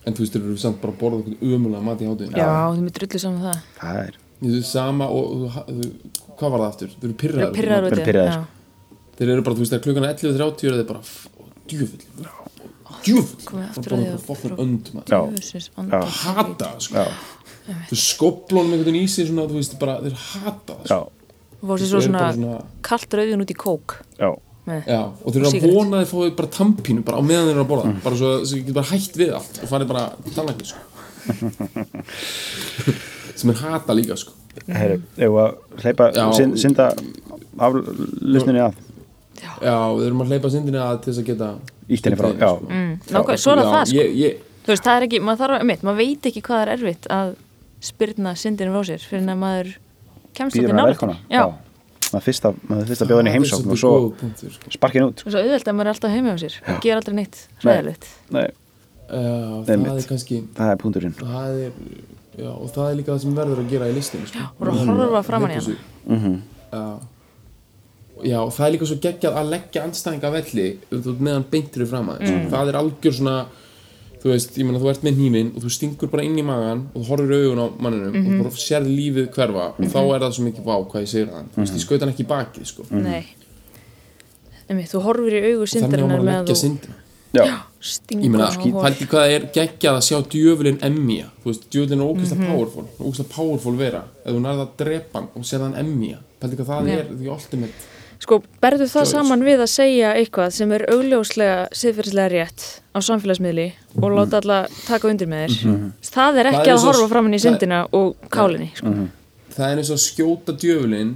D: en þú veist þeir eru samt bara að borða okkur umulega mat í hátíðin
E: Já, þú mér drullu saman það
C: Það er,
D: Þú veist, sama og þú- þú, hvað var það aftur þeir eru
E: Það
D: pirraðir
E: er pirraður
C: Bara
E: út í
C: pirraður,
E: já.
C: sko.
D: þeir eru bara þú veist þegar klukkan er 11.30 eru þeir bara f- ó, djöfull djöfull
E: komið Sko, aftur
D: það
E: að
D: borða
E: því
D: okkur
E: að-
D: fokkin önd maður.
C: já,
E: Jöfusins, andans.
D: hata það, sko þau skoplónum einhvern veginn í sig svona þú veist bara þeir hata það,
C: já,
D: sko.
E: Þú fórst
D: Þeir
E: svo
D: eru bara
E: svona kalt rauðin út í kók
C: já,
E: með.
D: Já, og þeir eru að
E: Sígaret.
D: vona að þeir fóðu bara tampínu bara á meðan þeir eru að borða
C: Mm.
D: bara svo þeir getur bara hætt við allt og farið bara talangi
C: (laughs)
D: sko. sem er hata líka sko.
E: Mm.
C: herru, ef að hleypa,
D: Já.
C: syn- synda aflusninni að,
D: Já, við erum að hleypa syndinni að til þess að geta
C: Ýtt henni frá, já.
D: mm.
E: Nákvæm, svo er það það sko
D: ég, ég,
E: Þú veist, það er ekki, maður þarf að, mitt, maður veit ekki hvað það er erfitt að spyrna syndinu frá sér fyrir en að maður kemst
C: býður hann
E: ekki
C: að
E: nálægt
C: velkona.
E: Já,
C: Maður fyrst að, maður fyrst að bjóða henni í heimsókn og svo
D: punktur, sko.
C: sparkin út.
E: og svo auðvelt að maður er alltaf heima um sér og ger aldrei neitt ræðilegt
C: Nei,
D: Já,
C: Nei,
D: það
C: mitt.
D: er kannski
C: það er punkturinn.
D: það er, já, og það er líka það sem verður að gera í listinu sko.
E: og að horfa framan í hana
D: hana Já, og það er líka svo geggjað að leggja andstæðinga af velli þú veist, meðan beintur er fram að mm. það er algjör svona þú veist, ég meina þú ert með hníminn og þú stingur bara inn í magan og þú horfir í augun á manninum
E: Mhm.
D: og þú sér lífið hverfa og þá er það svo mikið vá hvað ég segir hann þú
E: Mhm.
D: veist, ég skaut hann ekki í bakið sko.
E: Nei Mhm. Einmitt, Þú horfir í augu
D: og þannig á
E: syndarinnar
D: maður að
E: með
D: leggja
E: að þú
D: syndina
C: Já,
D: ég
E: stingur
D: meina, sko,
E: hana á hól.
D: pælti hvað það er geggjað að sjá djöfulinn emja þú veist, djöfulinn er ógæslega
E: Mhm.
D: powerful ógæslega powerful vera, ef þú nærða að drepa hann og sér hann emja, pælti hvað það er því ultimate,
E: Sko, berðu það
D: Joyce.
E: saman við að segja eitthvað sem er augljóslega siðferðislega rétt á samfélagsmiðli og láta alla taka undir með þér Það er
D: Mhm. Það
E: ekki
D: er
E: að
D: svo-
E: horfa framan í
D: það- Mhm.
E: syndina og kálinni sko.
D: það er eins og að skjóta djöfulinn